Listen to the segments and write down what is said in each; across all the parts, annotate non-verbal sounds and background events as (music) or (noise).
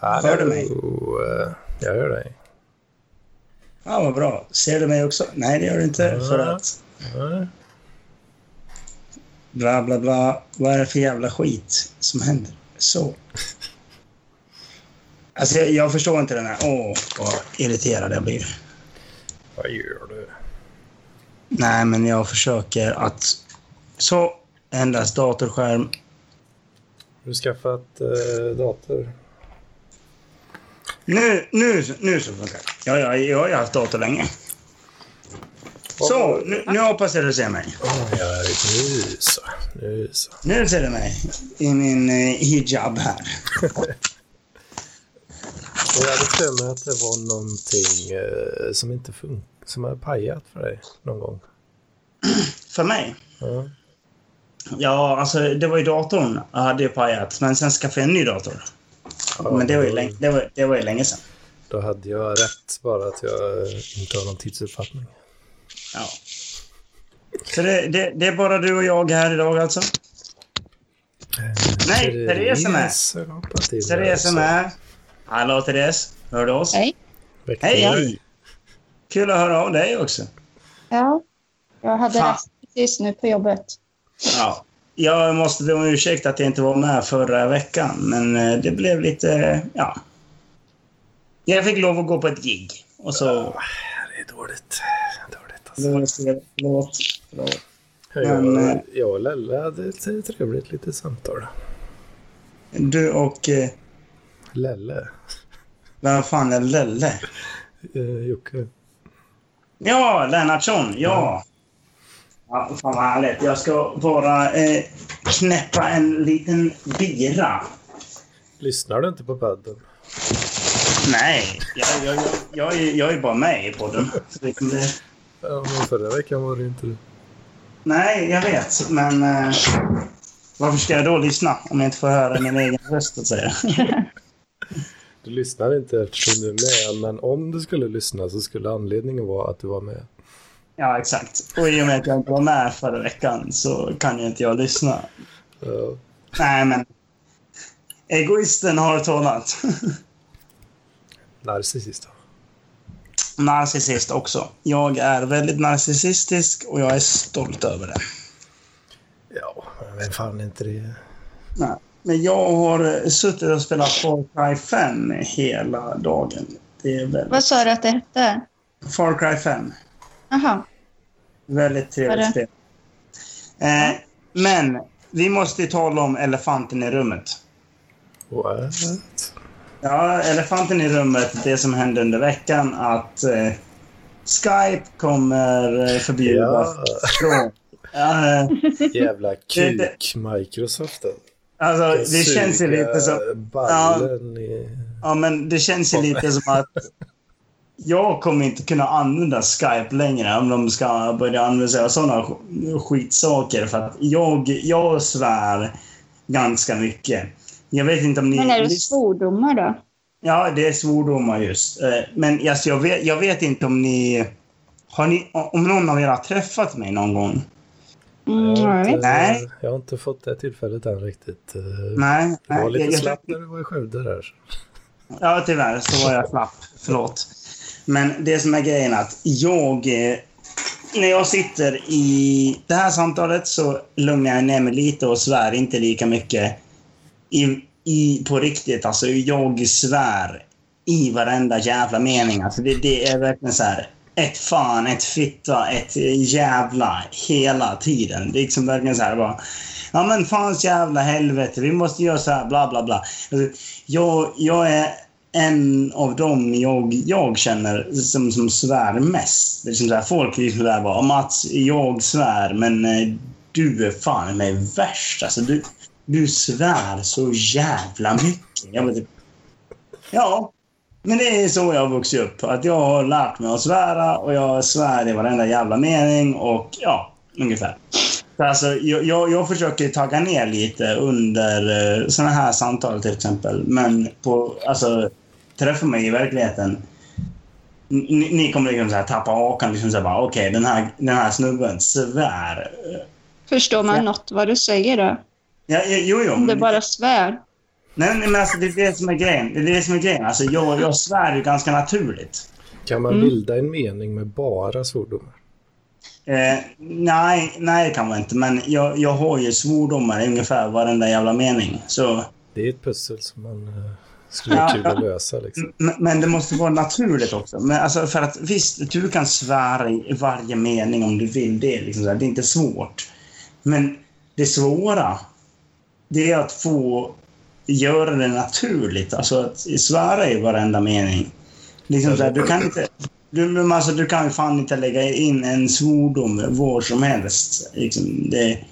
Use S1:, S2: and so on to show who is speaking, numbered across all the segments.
S1: Hör du mig?
S2: Jo, eh, Jag hör dig.
S1: Ja, vad bra. Ser du mig också? Nej, det gör du inte. För att
S2: Nej.
S1: bla, bla, bla. Vad är det för jävla skit som händer? Så. Alltså, jag, jag förstår inte den här. Åh, vad irriterad jag blir.
S2: Vad gör du?
S1: Nej, men jag försöker att... Så, endast datorskärm.
S2: Har du skaffat eh, dator?
S1: Nu, nu, nu så funkar det. Ja, ja, jag har ju haft dator länge. Så, nu, nu hoppas jag du ser mig.
S2: Oh, ja, nu så. Nu så.
S1: Nu ser du mig i min eh, hijab här.
S2: Och jag hade för mig att det var någonting eh, som inte funkar. Som har pajat för dig någon gång.
S1: För mig?
S2: Ja.
S1: Ja, alltså det var ju datorn jag hade ju pajat. Men sen skaffade jag en ny dator. men det var, ju länge, det, var, det var ju länge sedan.
S2: Då hade jag rätt bara att jag eh, inte har någon tidsuppfattning.
S1: Ja. Så det, det, det är bara du och jag här idag alltså? Eh, Nej, Therese är med.
S2: hoppat in där
S1: Therese är
S2: också.
S1: med. Hallå Therese, hör du oss?
S3: Hej.
S2: Väckte
S1: Hej,
S2: du?
S1: hej. Kul att höra av dig också.
S3: Ja. Jag hade
S1: Fan.
S3: rast precis nu på jobbet.
S1: Ja. Jag måste be om ursäkt att jag inte var med förra veckan, men eh, det blev lite... eh, Ja. Jag fick lov att gå på ett gig. Och så...
S2: Det är dåligt. Dåligt alltså.
S1: Förlåt. Förlåt. förlåt. Men, eh,
S2: Jag, jag och Lelle hade ett trevligt litet samtal.
S1: Du och... eh,
S2: Lelle.
S1: Vem fan är Lelle?
S2: Eh, Jocke.
S1: Ja, Lennartsson. Ja. ja. Fan vad härligt. Jag ska bara eh, knäppa en liten bira.
S2: Lyssnar du inte på podden?
S1: Nej, jag, jag, jag, jag, är- jag är bara med i podden. Så Liksom det kommer...
S2: Ja, men förra veckan var det ju inte det.
S1: Nej, jag vet. Men eh, varför ska jag då lyssna om jag inte får höra min egen röst? Så att säga? (laughs)
S2: Du lyssnar inte eftersom du är med, men om du skulle lyssna så skulle anledningen vara att du var med.
S1: ja, exakt. Och i och med att jag inte var med förra veckan så kan ju inte jag lyssna.
S2: Ja.
S1: Nej, men egoisten har talat. (laughs)
S2: Narcissist.
S1: Narcissist också. Jag är väldigt narcissistisk och jag är stolt över det.
S2: Ja, men vem fan är inte det?
S1: Nej. Men jag har eh, suttit och spelat Far Cry 5 hela dagen. Det är väldigt...
S3: Vad sa du att det hette?
S1: Far Cry 5.
S3: Jaha.
S1: Väldigt trevligt
S3: Var det?
S1: spel. Eh, men vi måste ju tala om elefanten i rummet.
S2: What?
S1: Ja, elefanten i rummet, det som hände under veckan att eh, Skype kommer eh, förbjudas.
S2: Ja.
S1: från- Ja. eh,
S2: Jävla kuk Microsoft.
S1: alltså, det känns ju lite som...
S2: Ballen i...
S1: Ja, men det känns ju lite som att jag kommer inte kunna använda Skype längre om de ska börja använda sig av sådana sk- skitsaker. För att jag, jag svär ganska mycket. Jag vet inte om ni...
S3: Men är det svordomar då?
S1: Ja, det är svordomar just. Eh, Men alltså, jag, vet, jag vet inte om ni... Har ni... Om någon av er har träffat mig någon gång?
S3: Mm,
S2: Jag har
S3: jag
S2: inte-
S3: vet.
S1: Nej.
S2: Jag har inte fått det tillfället än riktigt. Eh,
S1: Nej.
S2: Du var
S1: nej, jag-
S2: lite
S1: jag-
S2: slapp när du var i Skövde där.
S1: Ja, tyvärr så var jag slapp. Förlåt. Men det som är grejen är att jag... eh, När jag sitter i det här samtalet så lugnar jag ner mig lite och svär inte lika mycket i, i, på riktigt. Alltså, jag svär i varenda jävla mening. Alltså, det, det är verkligen så här... Ett fan, ett fitta, ett jävla hela tiden. Det är liksom verkligen så här bara... Ja men fans jävla helvete, vi måste göra så här, bla bla bla. Alltså, Jag, jag är en av dem jag, jag känner som, som svär mest. Det är liksom så här, folk är liksom där bara, Mats, jag svär, men eh, du är fan mig värst. Alltså, du, du svär så jävla mycket. Jag bara, typ, ja, men det är så jag har vuxit upp. Att jag har lärt mig att svära och jag svär i varenda jävla mening och ja, ungefär. Så Alltså, jag, jag, jag försöker tagga ner lite under eh, såna här samtal till exempel. Men på, alltså, träffar mig i verkligheten. Ni, ni kommer liksom så här tappa hakan. Liksom så här bara, Okej, den, här, den här snubben svär.
S3: Förstår man något vad du säger då?
S1: Ja, jo, jo.
S3: Om
S1: men-
S3: det bara svär.
S1: Nej, nej, men alltså, det är det som är grejen. Det är det som är grejen. Alltså, jag och jag svär ju ganska naturligt.
S2: Kan man
S1: Mm.
S2: bilda en mening med bara svordomar?
S1: Eh, nej, nej kan man inte. Men jag, jag har ju svordomar i ungefär varenda jävla mening. Så,
S2: Det är ett pussel som man eh, skulle vara kul att lösa. Liksom.
S1: men, men det måste vara naturligt också. Men, alltså, för att, visst, du kan svära i varje mening om du vill det. är Liksom, så här. det är inte svårt. Men det svåra, det är att få göra det naturligt. Alltså att svära i varenda mening. Liksom så här, du kan inte... Du, men alltså, du kan ju fan inte lägga in en svordom var som helst. Liksom, det,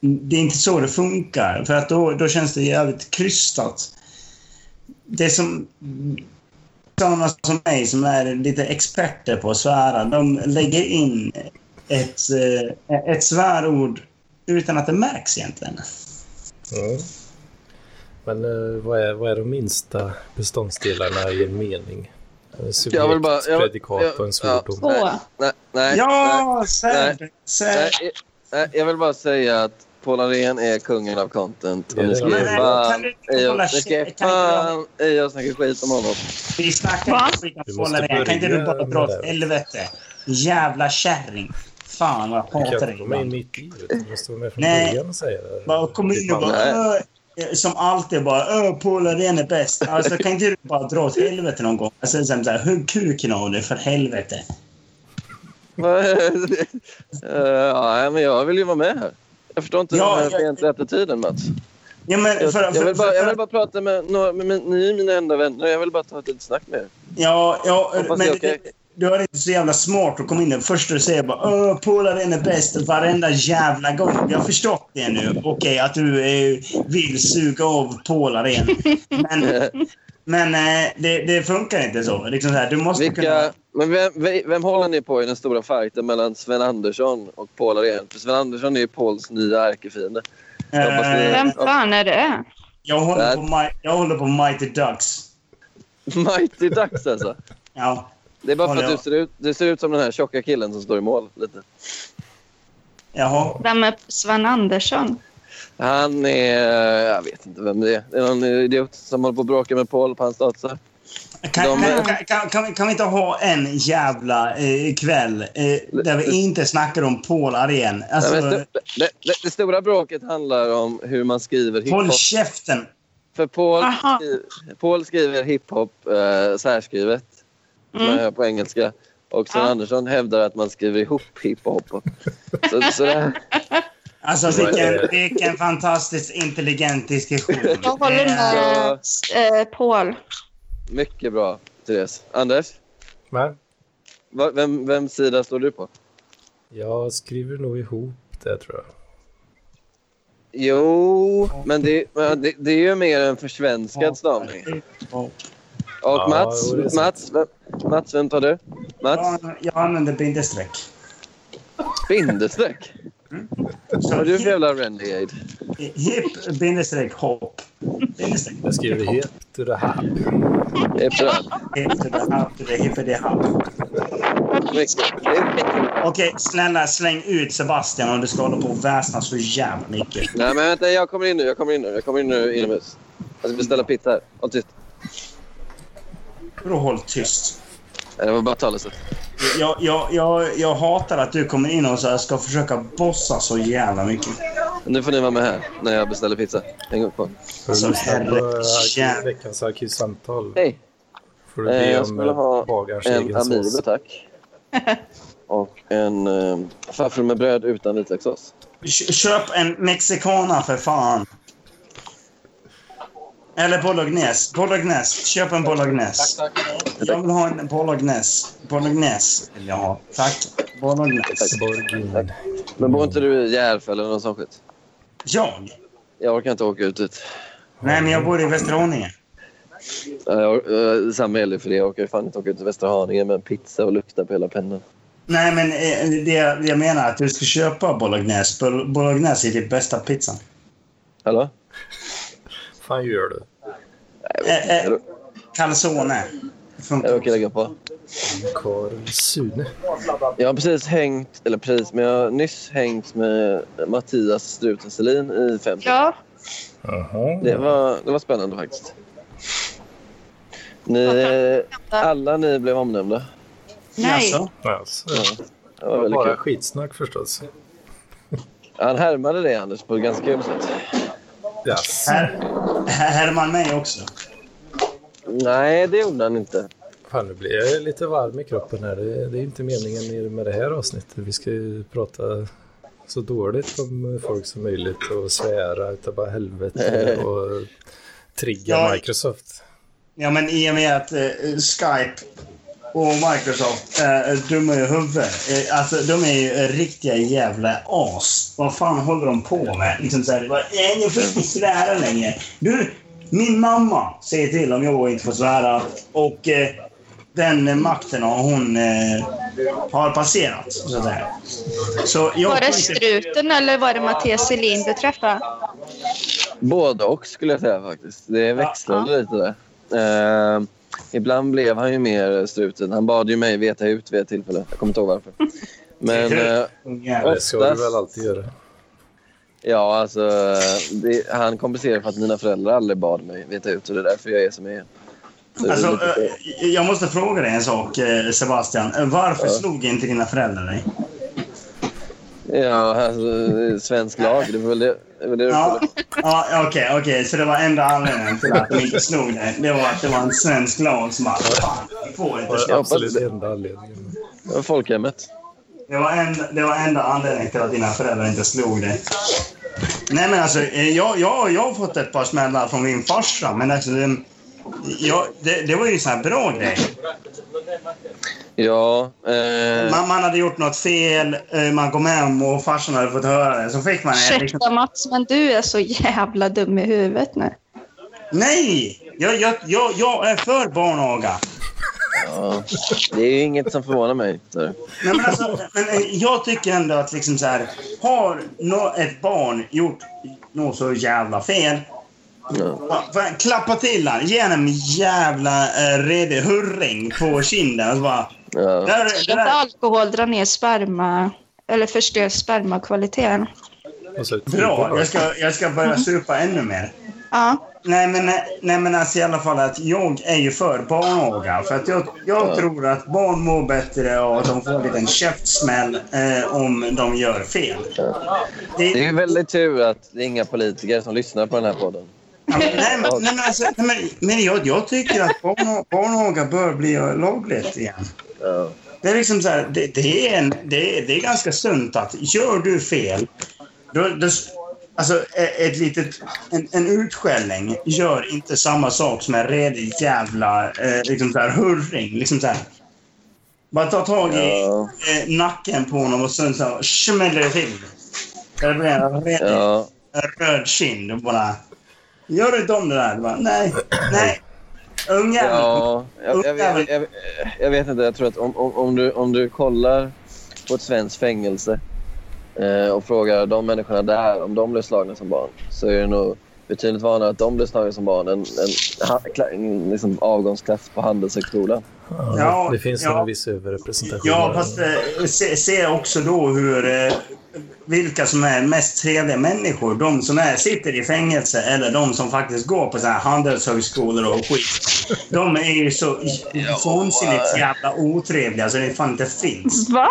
S1: det är inte så det funkar. För att då, då känns det jävligt krystat. Det som... Sådana som mig som är lite experter på att svära, de lägger in ett, eh, ett svärord utan att det märks egentligen.
S2: Ja. Men eh, vad, är, vad är de minsta beståndsdelarna i en mening? Eh,
S4: Jag vill
S2: Subjekt,
S4: bara- jag vill-
S2: predikat
S4: jag-
S2: och en svordom.
S3: Två.
S4: Nej, nej,
S1: ja, Seb!
S4: nej,
S1: Seb!
S4: nej, nej, nej, jag vill bara säga att Paul Arén är kungen av content. Och
S2: Ja,
S4: ni
S2: det
S4: ska
S2: är
S4: ge
S2: det.
S1: eh, Kan
S4: fan
S1: du inte
S4: i och-
S1: hålla
S4: ni ska ge
S1: käft? Kan inte jag-
S4: fan i och snacka skit om honom. (laughs)
S1: Vi snackar
S3: Va?
S1: inte skit om
S2: Du måste
S1: Polaren. Kan inte du bara
S2: börja
S1: dra
S2: med
S1: åt
S2: det.
S1: helvete? Jävla kärring. Fan vad jag
S2: Du
S1: hatar
S2: kan inte
S1: dig
S2: komma in
S1: ibland.
S2: mitt i, utan du måste vara med från
S1: Nej.
S2: början och säga det.
S1: Bara kom in och bara...
S4: Nej.
S1: "Ö, Som alltid bara öh, Polaren är bäst. Alltså kan inte du bara dra åt helvete någon gång? Alltså sen såhär, hugg kuken av dig för helvete.
S4: Eh, ja, men jag vill ju vara med här. Jag förstår inte
S1: Ja,
S4: den här
S1: jag-
S4: rent attityden, Mats.
S1: Ja men för,
S4: Jag,
S1: för,
S4: jag, vill bara,
S1: för,
S4: jag vill bara prata med några... Med, med, ni är mina enda vänner. Jag vill bara ta ett litet snack med er.
S1: Ja, ja
S4: Hoppas
S1: men
S4: det är okej.
S1: du, du är inte så jävla smart att komma in där. Först du säger bara öh, Polaren är bäst varenda jävla gång. Jag har förstått det nu. Okej, att du eh, vill suga av Polaren. Men
S4: (laughs)
S1: Men eh, det, det funkar inte så. Liksom så här, du måste kunna...
S4: Vilka, men vem, vem, vem håller ni på i den stora fighten mellan Sven Andersson och Paul Arén? För Sven Andersson är ju Pauls nya ärkefiende. (laughs) Jag hoppas det-
S1: Eh,
S3: Vem fan är det?
S1: jag, håller
S4: Där.
S1: på Mi- jag håller på Mighty Ducks.
S4: Mighty Ducks alltså.
S1: Ja.
S4: Det är bara
S1: Ja,
S4: för att
S1: ja.
S4: du ser, ut, du ser ut som den här tjocka killen som står i mål. Lite.
S1: Jaha.
S3: Vem är Sven Andersson?
S4: Han är... Jag vet inte vem det är. Det är någon idiot som håller på och bråkar med Paul på hans dator.
S1: Kan,
S4: De-
S1: men, kan, kan, kan, vi- kan vi inte ha en jävla eh, kväll eh, där vi inte snackar om Polar igen? Alltså,
S4: Nej, men sto- det, det, det stora bråket handlar om hur man skriver
S1: håll
S4: hiphop.
S1: käften!
S4: För Paul,
S3: Aha.
S4: skri- Paul skriver hiphop eh, särskrivet som man
S3: Mm.
S4: gör på engelska. Och Sven
S3: Ja.
S4: Andersson hävdar att man skriver ihop hiphop. Så, så det
S3: (laughs)
S4: här,
S1: Alltså
S2: Det var-
S1: vilken, vilken fantastiskt intelligent
S4: (laughs)
S1: diskussion.
S3: Jag håller
S1: Eh,
S3: med eh, Paul.
S4: mycket bra, Therese. Anders,
S2: Men
S4: va, vem, vem sida står du på?
S2: jag skriver nog ihop det tror jag.
S4: Jo, men det, men det, det är ju mer en försvenskad stavning.
S1: Ja,
S4: Och
S2: Ja,
S4: Mats,
S2: jo, det är sant.
S4: Mats, vem, Mats, vem tar du? Mats?
S1: Jag, jag använder bindestreck.
S4: Bindestreck?
S1: Så
S4: Vad är du för
S1: hip,
S4: jävla renegade?
S1: hip bindestreck, hopp. Bindestreck.
S2: Jag skriver helt to the hub.
S4: Det är
S2: (laughs)
S4: bra.
S1: Efter det här, efter det, efter det här.
S4: Mycket. Det är-
S1: Okej, snälla släng ut Sebastian om du ska hålla på och väsna så jävla mycket.
S4: Nej, men vänta, jag kommer in nu. Jag kommer in nu. Jag kommer in nu inomhus. Jag ska beställa pizza här. Håll tyst.
S1: Då håll tyst.
S4: Nej, Det var bara talesätt.
S1: Jag, jag, jag, jag hatar att du kommer in och så här ska försöka bossa så jävla mycket.
S4: Nu får ni vara med här när jag beställer pizza. Häng upp på.
S2: Har du
S1: Så
S2: lyssnat på
S1: herre-
S2: eh,
S1: jävlar.
S2: arkiv, veckans arkivsamtal?
S4: Hej.
S2: Får du
S4: Eh,
S2: be
S4: jag
S2: om
S4: skulle
S2: eh,
S4: ha
S2: bagarens
S4: En
S2: egen
S4: Amigo,
S2: sås?
S4: tack. Och en eh, farfar med bröd utan vitlökssås.
S1: Kö- Köp en mexicana för fan. Eller bolognese. Bolognese. Köp en bolognese. Jag vill ha en bolognese. Bolognese vill jag ha. Tack. Bolognese.
S2: Borgin.
S4: Men bor inte du i Järfälla eller någon sån skit?
S1: Jag?
S4: Jag orkar inte åka ut dit.
S1: Nej, men jag bor i Västerhaninge.
S4: Eh, jag- eh, Samma gäller för det. Jag orkar ju fan inte åka ut till Västra Haninge med en pizza och lukta på hela pennan.
S1: Nej, men eh, det jag, det jag menar är att du ska köpa bolognese. Bol- Bolognese är det bästa pizzan.
S4: Hallå?
S2: fan gör du?
S1: Eh, eh,
S4: Jag,
S1: calzone.
S4: jag
S1: Funkar.
S4: orkar lägga på.
S2: Karl Sune.
S4: Jag har precis hängt, eller precis, men jag har nyss hängt med Mattias Struten Selin i fem timmar.
S3: Ja,
S2: Jaha.
S4: Det var, det var spännande faktiskt. Ni, eh, alla ni blev omnämnda.
S3: Nej.
S1: Jaså?
S2: Alltså,
S4: Ja, det var
S2: det var
S4: väldigt
S2: bara
S4: kul.
S2: skitsnack förstås.
S4: Han härmade dig Anders på ett ganska kul sätt.
S2: Yes.
S1: Här, här härmar mig också.
S4: Nej, det gjorde han inte.
S2: Fan, nu blir jag lite varm i kroppen här. Det, det är inte meningen med det här avsnittet. Vi ska ju prata så dåligt om folk som möjligt och svära utav bara
S4: (laughs)
S2: helvete och trigga
S1: Ja.
S2: Microsoft.
S1: Ja, men i och med att eh, Skype och Microsoft eh, är dumma i huvudet. Eh, Alltså, de är ju riktiga jävla as. Vad fan håller de på med? Liksom så här, det bara, "Nej, jag får inte svära längre. Du, min mamma säger till om jag inte får svära. Och eh, den eh, makten har hon eh, har passerat, så att säga. Så jag
S3: Var det
S1: får inte-
S3: struten eller var det Mattias Selin du träffade?
S4: Både och skulle jag säga faktiskt. Det växlade lite där. Eh, ibland blev han ju mer struten. Han bad ju mig veta ut vid ett tillfälle. Jag kommer inte
S1: (laughs)
S4: ihåg varför. Men eh,
S1: Jävlar.
S2: Det ska du väl alltid göra.
S4: ja, alltså. Det, han kompenserade för att mina föräldrar aldrig bad mig veta ut. Och det är därför jag är som jag är. Så det är
S1: Alltså,
S4: lite så.
S1: eh, jag måste fråga dig en sak, eh, Sebastian. Eh, Varför slog inte dina föräldrar dig?
S4: Ja, alltså, det är svensk lag. Det var väl det, det, var det du
S1: Ja,
S4: frågade.
S1: ja, okej, okej. Så det var enda anledningen till att de inte slog dig. Det var att det var en svensk lag som bara, fan, vi får inte
S2: Det
S1: slå.
S2: var
S4: hoppas
S2: absolut
S4: det.
S2: enda anledningen.
S4: Det var folkhemmet.
S1: Det var, en, det var enda anledningen till att dina föräldrar inte slog dig. Nej, men alltså, eh, jag, jag, jag har fått ett par smällar från min farsa, men alltså, den- jag, det, det var ju så här bra grej.
S4: Ja. Eh,
S1: Man, man hade gjort något fel, eh, man kom hem och farsan hade fått höra det. Så fick man en liksom,
S3: Ursäkta Mats, men du är så jävla dum i huvudet nu.
S1: Nej! Jag, jag, jag, jag är för barnaga.
S4: ja. Det är ju inget som förvånar mig. Så.
S1: Nej, men alltså, men eh, jag tycker ändå att liksom så här, har nå ett barn gjort något så jävla fel,
S4: Ja.
S1: va- va- klappa till han. Ge honom en jävla eh, redig hurring på kinden. Och så bara,
S4: Ja.
S1: där,
S3: Ska
S1: där,
S3: inte alkohol dra ner sperma eller förstör spermakvaliteten?
S2: Och så ett
S1: bra,
S2: fotboll.
S1: jag ska, jag ska börja supa ännu mer.
S3: Ja,
S1: Nej men, nej men alltså i alla fall att jag är ju för barnaga. För att jag, jag tror att barn mår bättre och att de får en liten käftsmäll eh, om de gör fel. Det-
S4: Det är ju väldigt tur att det är inga politiker som lyssnar på den här podden.
S1: ja, men- nej, men, nej, men, alltså, nej, men, men jag, jag tycker att barn, barnaga bör bli lagligt igen.
S4: Ja.
S1: Det är liksom så här, det, det, är en, det, är- det är ganska sunt att gör du fel, då, då, alltså e- ett litet, en, en utskällning gör inte samma sak som en redig jävla eh, liksom så här, hurring. Liksom så här. Bara ta tag i
S4: Ja.
S1: eh, nacken på honom och sen så smäller det till. Det blir en redig
S4: Ja.
S1: röd kind och bara... Gör du inte om det där? Du Bara, nej, nej. Ungjäveln.
S4: ja. Jag, jag, vet- jag, jag vet inte. Jag tror att om, om, om, du, om du kollar på ett svenskt fängelse eh, och frågar de människorna där om de blev slagna som barn så är det nog betydligt vanligare att de blev slagna som barn än en, en, en liksom avgångsklass på Handelshögskolan.
S1: Ja,
S2: Ja, det finns
S1: ja.
S2: en viss överrepresentation.
S1: Ja,
S2: där.
S1: fast eh, se, se också då hur... Eh, vilka som är mest trevliga människor. De som är, sitter i fängelse eller de som faktiskt går på så här handelshögskolor och skit. De är ju så j- vansinnigt jävla otrevliga så det fan inte finns.
S3: va?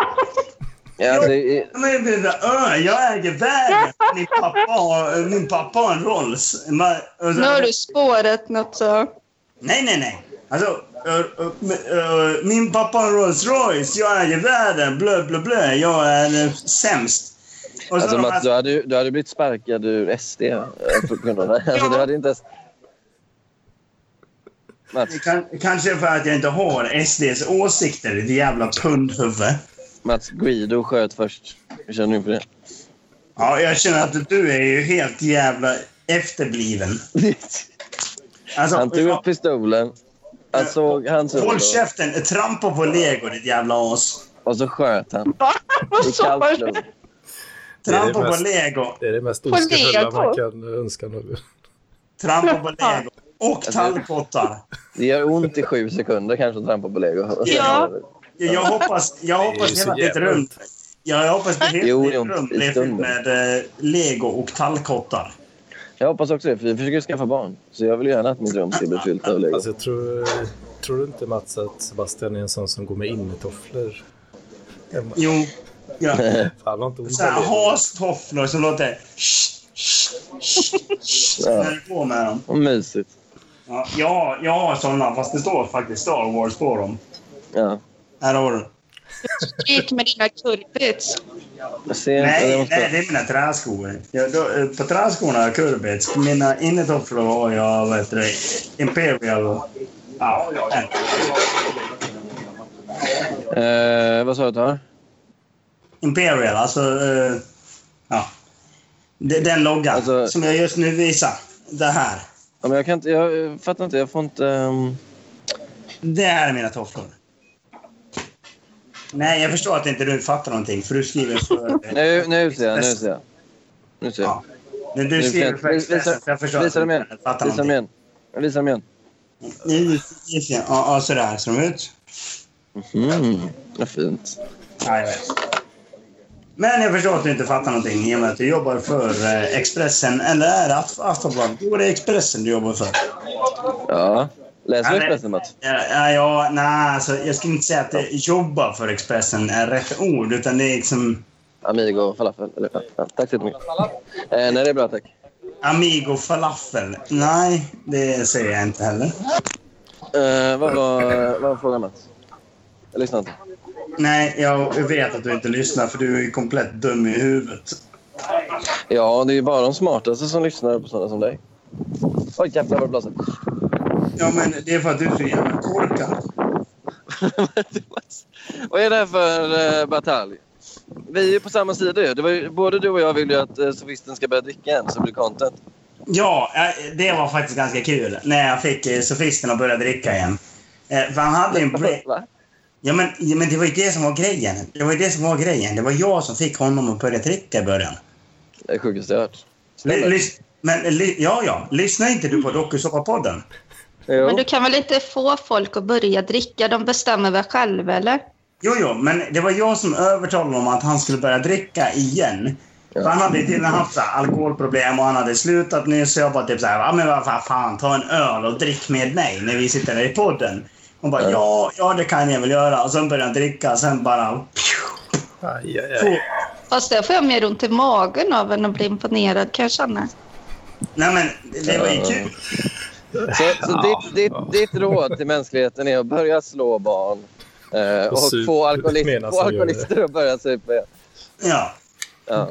S4: Ja, det, är-
S1: De är ju bara, "Ö, jag äger världen. Min pappa har, min pappa har en Rolls. Men- alltså, och så-
S3: Nu har du spårat något så.
S1: Nej, nej, nej. Alltså, ö, ö, m- ö, min pappa har en Rolls Royce, jag äger världen, blö, blö, blö. Jag är eh, sämst. Och så
S4: Alltså
S1: de här-
S4: Mats, du hade, ju- du hade blivit sparkad ur SD. eh, på grund av det. Alltså, du hade inte ens... Mats,
S1: kan, kanske för att jag inte har SDs åsikter, ditt jävla pundhuvud.
S4: Mats Guido sköt först. Hur känner du inför det?
S1: Ja, jag känner att du är ju helt jävla efterbliven. Alltså,
S4: Han tog upp pistolen. Han såg hans
S1: håll
S4: huvud
S1: käften, trampa på lego ditt jävla as.
S4: och så sköt han.
S3: Va? Vad
S4: I
S3: sa
S4: kallt
S3: du?
S4: blod.
S2: Det är det
S1: Trampa på
S2: mest-
S1: lego,
S2: Det är det mest
S3: Kollega
S2: oskuldsfulla
S3: på.
S2: man kan eh, önska nu.
S1: trampa på lego och
S4: Alltså-
S1: tallkottar.
S4: Det gör ont i sju sekunder kanske att trampa på lego.
S3: Ja.
S1: Jag, jag hoppas, jag
S2: Det är
S1: hoppas
S2: ju så
S1: hela ditt
S2: jävla
S1: rum. Ja, jag hoppas att hela
S4: Jo,
S1: ditt
S4: jo,
S1: rum
S4: i
S1: blir fyllt
S4: stunden.
S1: med eh, lego och tallkottar.
S4: Jag hoppas också det, för vi försöker skaffa barn. Så jag vill gärna att mitt rum ska bli fyllt av lego.
S2: Alltså, jag tror, tror du inte Mats att Sebastian är en sån som går med innetofflor? hemma?
S1: Jo.
S4: (laughs)
S1: Ja.
S2: Fan vad inte ont
S1: Så här,
S2: av det.
S1: hastofflor som låter...
S4: Ja.
S1: När du går med dem.
S4: Vad mysigt.
S1: Ja, jag, jag har såna, fast det står faktiskt Star Wars på dem.
S4: Ja.
S1: Här har du.
S3: Gick med dina kurvbits.
S4: Jag ser inte. jag
S1: Nej,
S4: måste-
S1: nej, det är mina träskor. Jag, då, eh, på träskorna har jag kurbits. På Mina innetofflor har jag vad heter det, Imperial. och- Ja, en.
S4: Eh, vad sa du att du har?
S1: Imperial, alltså... eh, ja. Det, den loggan
S4: Alltså-
S1: som jag just nu visar. Det här.
S4: Ja, men jag, kan inte, jag eh, fattar inte. Jag får inte... ehm,
S1: Det här är mina tofflor. Nej, jag förstår att inte du fattar någonting, för du skriver för...
S4: (laughs) Nu, nu ser jag. Nu ser jag. Nu ser jag.
S1: Ja. Men du
S4: Nu ser
S1: skriver
S4: jag.
S1: för Expressen, så jag förstår
S4: Visa, visa dem
S1: att du
S4: igen.
S1: inte fattar
S4: Visa dem
S1: någonting.
S4: igen. Visa dem igen.
S1: Nu gick jag. Ja, ja, sådär ser de ut.
S4: Mm, vad fint.
S1: Ja, jag vet. Men jag förstår att du inte fattar någonting i och med att du jobbar för eh, Expressen. Eller är det Aft- Aftonbladet? Jo, det är Expressen du jobbar för.
S4: Ja. Läser du
S1: Ja, men-
S4: Expressen, Mats?
S1: Ja, ja, ja, nej, alltså, jag skulle inte säga att det, jobba för Expressen är rätt ord, utan det är liksom
S4: Amigo falafel. Eller, ja, tack så jättemycket. Eh, nej, det är bra, tack.
S1: Amigo falafel. Nej, det säger jag inte heller.
S4: Eh, vad, var, vad var frågan, Mats? Jag lyssnar inte.
S1: Nej, jag vet att du inte lyssnar för du är ju komplett dum i huvudet.
S4: Ja, det är ju bara de smartaste som lyssnar på sådana som dig. Oj, jävlar vad det blåser. (laughs)
S1: Ja, men det är för att du är så jävla korkad.
S4: vad är det här för eh, batalj? Vi är ju på samma sida ju. Det var ju. Både du och jag vill ju att eh, sofisten ska börja dricka igen så det blir content.
S1: Ja, eh, det var faktiskt ganska kul när jag fick eh, sofisten att börja dricka igen. Eh, För han hade en break.
S4: Va?
S1: Ja, men, ja, men det var ju det som var grejen. Det var ju det som var grejen. Det var jag som fick honom att börja dricka i början.
S4: Det är det sjukaste jag hört.
S1: L-
S4: Stämmer.
S1: lys- men, ly- ja, ja. Lyssnar inte du på Dokusåpa-podden?
S4: Jo.
S3: Men du kan väl inte få folk att börja dricka? De bestämmer väl själva, eller?
S1: Jo, jo, men det var jag som övertalade honom att han skulle börja dricka igen. För han hade ju tydligen haft så här, alkoholproblem och han hade slutat nyss. Så jag bara typ så här, ja men vad fan, fan, ta en öl och drick med mig när vi sitter där i podden. Hon bara, ja, ja det kan jag väl göra. Och sen började han dricka och sen bara...
S2: Aj, aj, aj.
S3: Fast det får jag mer ont i magen av än att bli imponerad, kan jag känna.
S1: Nej men, det var ju kul.
S4: Så, så ditt, ditt, ditt råd till mänskligheten är att börja slå barn eh, och,
S2: Och sup,
S4: få, alkoholist,
S2: menas
S4: få
S2: han gör det.
S4: alkoholister att börja supa. igen.
S1: Ja.
S4: Ja.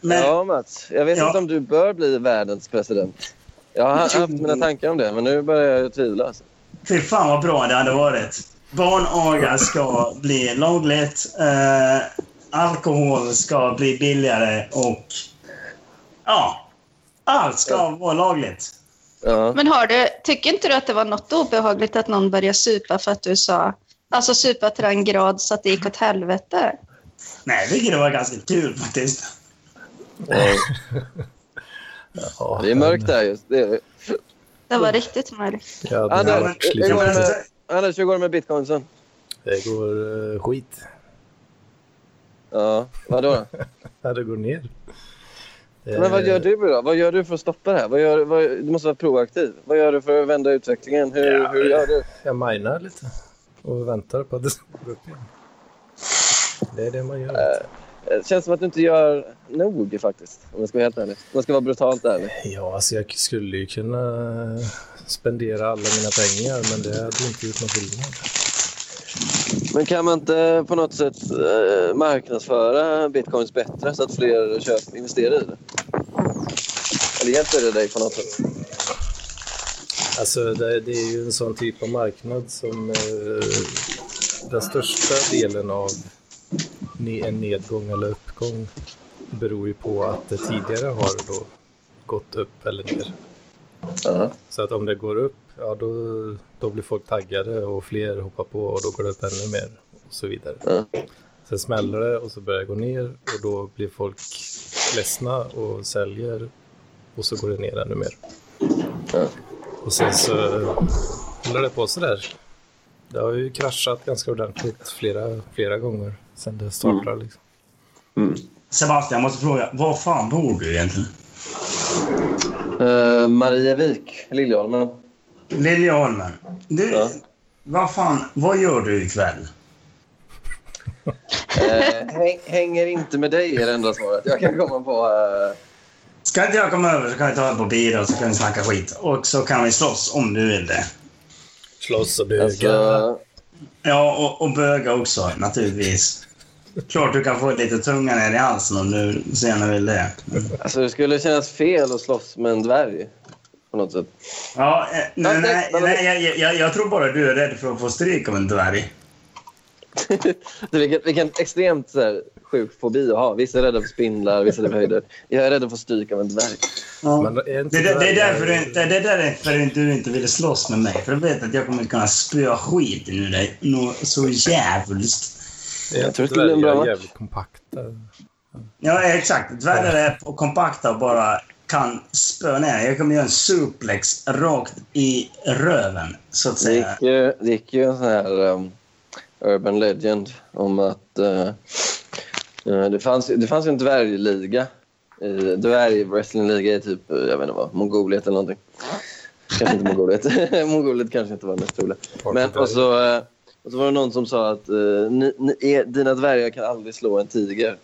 S1: Men,
S4: ja, Mats. Jag vet
S1: Ja.
S4: inte om du bör bli världens president. Jag har haft
S1: Mm.
S4: mina tankar om det, men nu börjar jag tvivla. Alltså.
S1: Fy fan vad bra det hade varit. Barnaga ska bli lagligt. Eh, alkohol ska bli billigare och... Ja. Allt ska vara lagligt.
S4: Ja.
S3: Men har du, tycker inte du att det var något obehagligt att någon började supa för att du sa Alltså supa till den grad så att det gick åt helvete.
S1: Nej, jag tycker det var ganska kul faktiskt.
S4: (laughs) Eh,
S2: Ja,
S4: Det är mörkt där just. Det är...
S3: Det var riktigt mörkt.
S2: Ja, den
S4: Anders,
S2: här
S1: men-
S4: hur går det
S2: klippet.
S4: med- Anders, hur går det med bitcoinsen?
S2: Det går eh, skit.
S4: Ja, vadå då?
S2: Ja, det går ner.
S4: Men vad gör du då? Vad gör du för att stoppa det här? Vad gör, vad, du måste vara proaktiv. Vad gör du för att vända utvecklingen? Hur,
S2: Ja,
S4: hur gör du?
S2: Jag minar lite och väntar på att det ska gå upp igen. Det är det man gör.
S4: Eh, Det känns som att du inte gör nog faktiskt. Om jag ska vara helt ärlig. Om jag ska vara brutalt ärlig.
S2: Ja, alltså jag skulle ju kunna spendera alla mina pengar, men det hade ju inte gjort någon skillnad.
S4: Men kan man inte på något sätt eh, marknadsföra bitcoins bättre så att fler köp, investerar i det? Eller hjälper det dig på något sätt?
S2: Alltså, det, det är ju en sån typ av marknad som eh, den största delen av ne- en nedgång eller uppgång beror ju på att det tidigare har då gått upp eller ner.
S4: Ja.
S2: Så att om det går upp, ja då, då blir folk taggade och fler hoppar på och då går det upp ännu mer och så vidare.
S4: Ja.
S2: Sen smäller det och så börjar det gå ner och då blir folk ledsna och säljer och så går det ner ännu mer.
S4: Ja.
S2: Och sen så håller det på sådär. Det har ju kraschat ganska ordentligt flera, flera gånger sen det startade.
S4: Mm.
S2: Liksom.
S1: Sebastian, jag måste fråga. Var fan bor du egentligen?
S4: Uh, Marievik, (laughs) Liljeholmen.
S1: Liljeholmen. Du,
S4: Ja.
S1: vad fan, vad gör du ikväll?
S4: Eh, häng, hänger inte med dig är det enda svaret jag kan komma på. eh.
S1: Ska inte jag komma över så kan vi ta en på bira och så kan vi snacka skit. Och så kan vi slåss om du vill det.
S2: Slåss och buga.
S4: alltså,
S1: Ja, och, och böga också naturligtvis. Klart du kan få lite tunga ner i halsen om du senare vill det.
S4: alltså, det skulle kännas fel att slåss med en dvärg. På något sätt.
S1: Ja, eh, nej,
S4: Men det-
S1: nej,
S4: men-
S1: nej, jag, jag, jag tror bara du är rädd för att få stryk av en dvärg.
S4: Så (laughs) vilken, vilken extremt så här, sjuk fobi att ha. Vissa är rädda för spindlar, vissa är rädda för höjder. Jag är rädd för att få stryk av en dvärg.
S1: Ja.
S2: Men är inte
S1: Det, det, det
S2: dvärgar-
S1: är därför du inte, det är därför du inte ville slåss med mig. För du vet att jag kommer kunna spöa skiten ur dig. Nå, så jävligt.
S2: är
S4: Jag tror det
S2: inte
S4: skulle bli en
S2: dvärgar
S4: bra match.
S2: jävligt eh, kompakta.
S1: Ja, exakt. Dvärgar är på kompakta och bara kan spöa ner. Jag kommer göra en suplex rakt i röven, så att
S4: Det
S1: säga.
S4: gick ju, det gick ju en sån här um, urban legend om att eh, eh, det, fanns, det fanns ju en dvärgliga. i- Dvärg-wrestlingliga i typ eh, jag vet inte vad, Mongoliet eller någonting. Kanske inte Mongoliet. (laughs) Mongoliet kanske inte var det mest troliga. Men, och, så, eh, och så var det någon som sa att eh, ni, ni, er, dina dvärgar kan aldrig slå en tiger.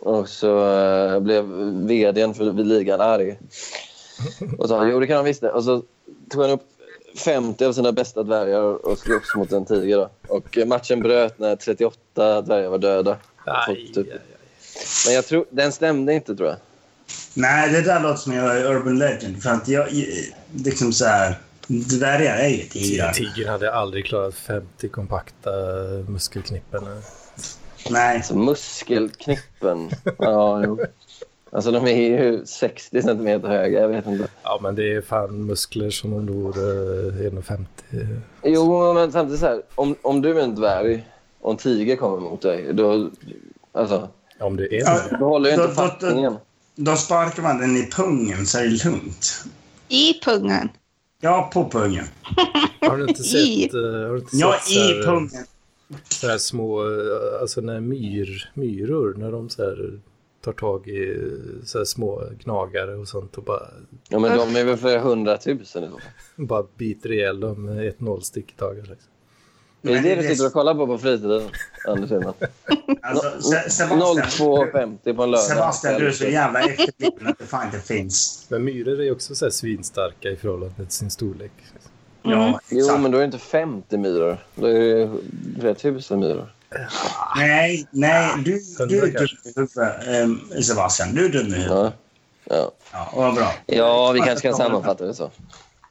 S4: Och så eh, blev vdn för ligan arg. Och sa jo det kan han visst det. Och så tog han upp 50 av sina bästa dvärgar och slogs mot en tiger. Då. Och eh, matchen bröt när 38 dvärgar var döda.
S2: Aj,
S4: Så
S2: aj,
S4: typ-
S2: aj.
S4: Men jag tror, den stämde inte tror jag.
S1: Nej, det där låter som jag är urban legend. För att jag... jag- Liksom så här... Dvärgar är ju tigrar.
S2: Tigern hade aldrig klarat 50 kompakta muskelknippen.
S1: Nej.
S4: Alltså muskelknippen. ja, jo. Alltså de är ju 60 centimeter höga. Jag vet inte.
S2: Ja, men det är fan muskler som om du vore eh, 1,50.
S4: Jo, men samtidigt så här. Om, om du är en dvärg och en tiger kommer mot dig, då... Alltså,
S2: Om det
S1: Ja,
S2: är det.
S4: då håller ju
S1: Då-
S4: inte
S1: då-
S4: fattningen.
S1: Då sparkar man den i pungen så är det lugnt.
S3: I pungen.
S1: Ja, på pungen.
S2: Har du inte
S3: I.
S2: sett, eh, har du inte
S1: Ja,
S2: sett så här,
S1: i
S2: eh,
S1: pungen.
S2: så här små, eh, alltså när myr, myror, när de så här tar tag i eh, så här små gnagare och sånt och bara,
S4: Ja, men de är väl flera hundratusen i så fall.
S2: bara biter ihjäl dem med ett nålstick i taget. Liksom.
S4: Är det
S1: Men
S4: det
S1: det
S4: du
S1: är
S4: sitter
S1: så-
S4: och kollar på på fritiden, Anders Hedman?
S1: Alltså, Se- Sebastian,
S4: 02.50 på en lördag.
S1: Sebastian, du är så jävla efterbliven att det fan inte finns.
S2: Men myror är också så här svinstarka i förhållande till sin storlek.
S1: Ja,
S4: Jo,
S1: exakt.
S4: men då är det inte 50 myror. Då är det ju flera tusen myror.
S1: Nej, nej. Du, du är
S2: Hundra
S1: dum i huvudet, ehm, Sebastian. Du är dum i huvudet.
S4: Ja. Ja.
S1: Ja, vad bra.
S4: ja, vi kanske kan sammanfatta det så.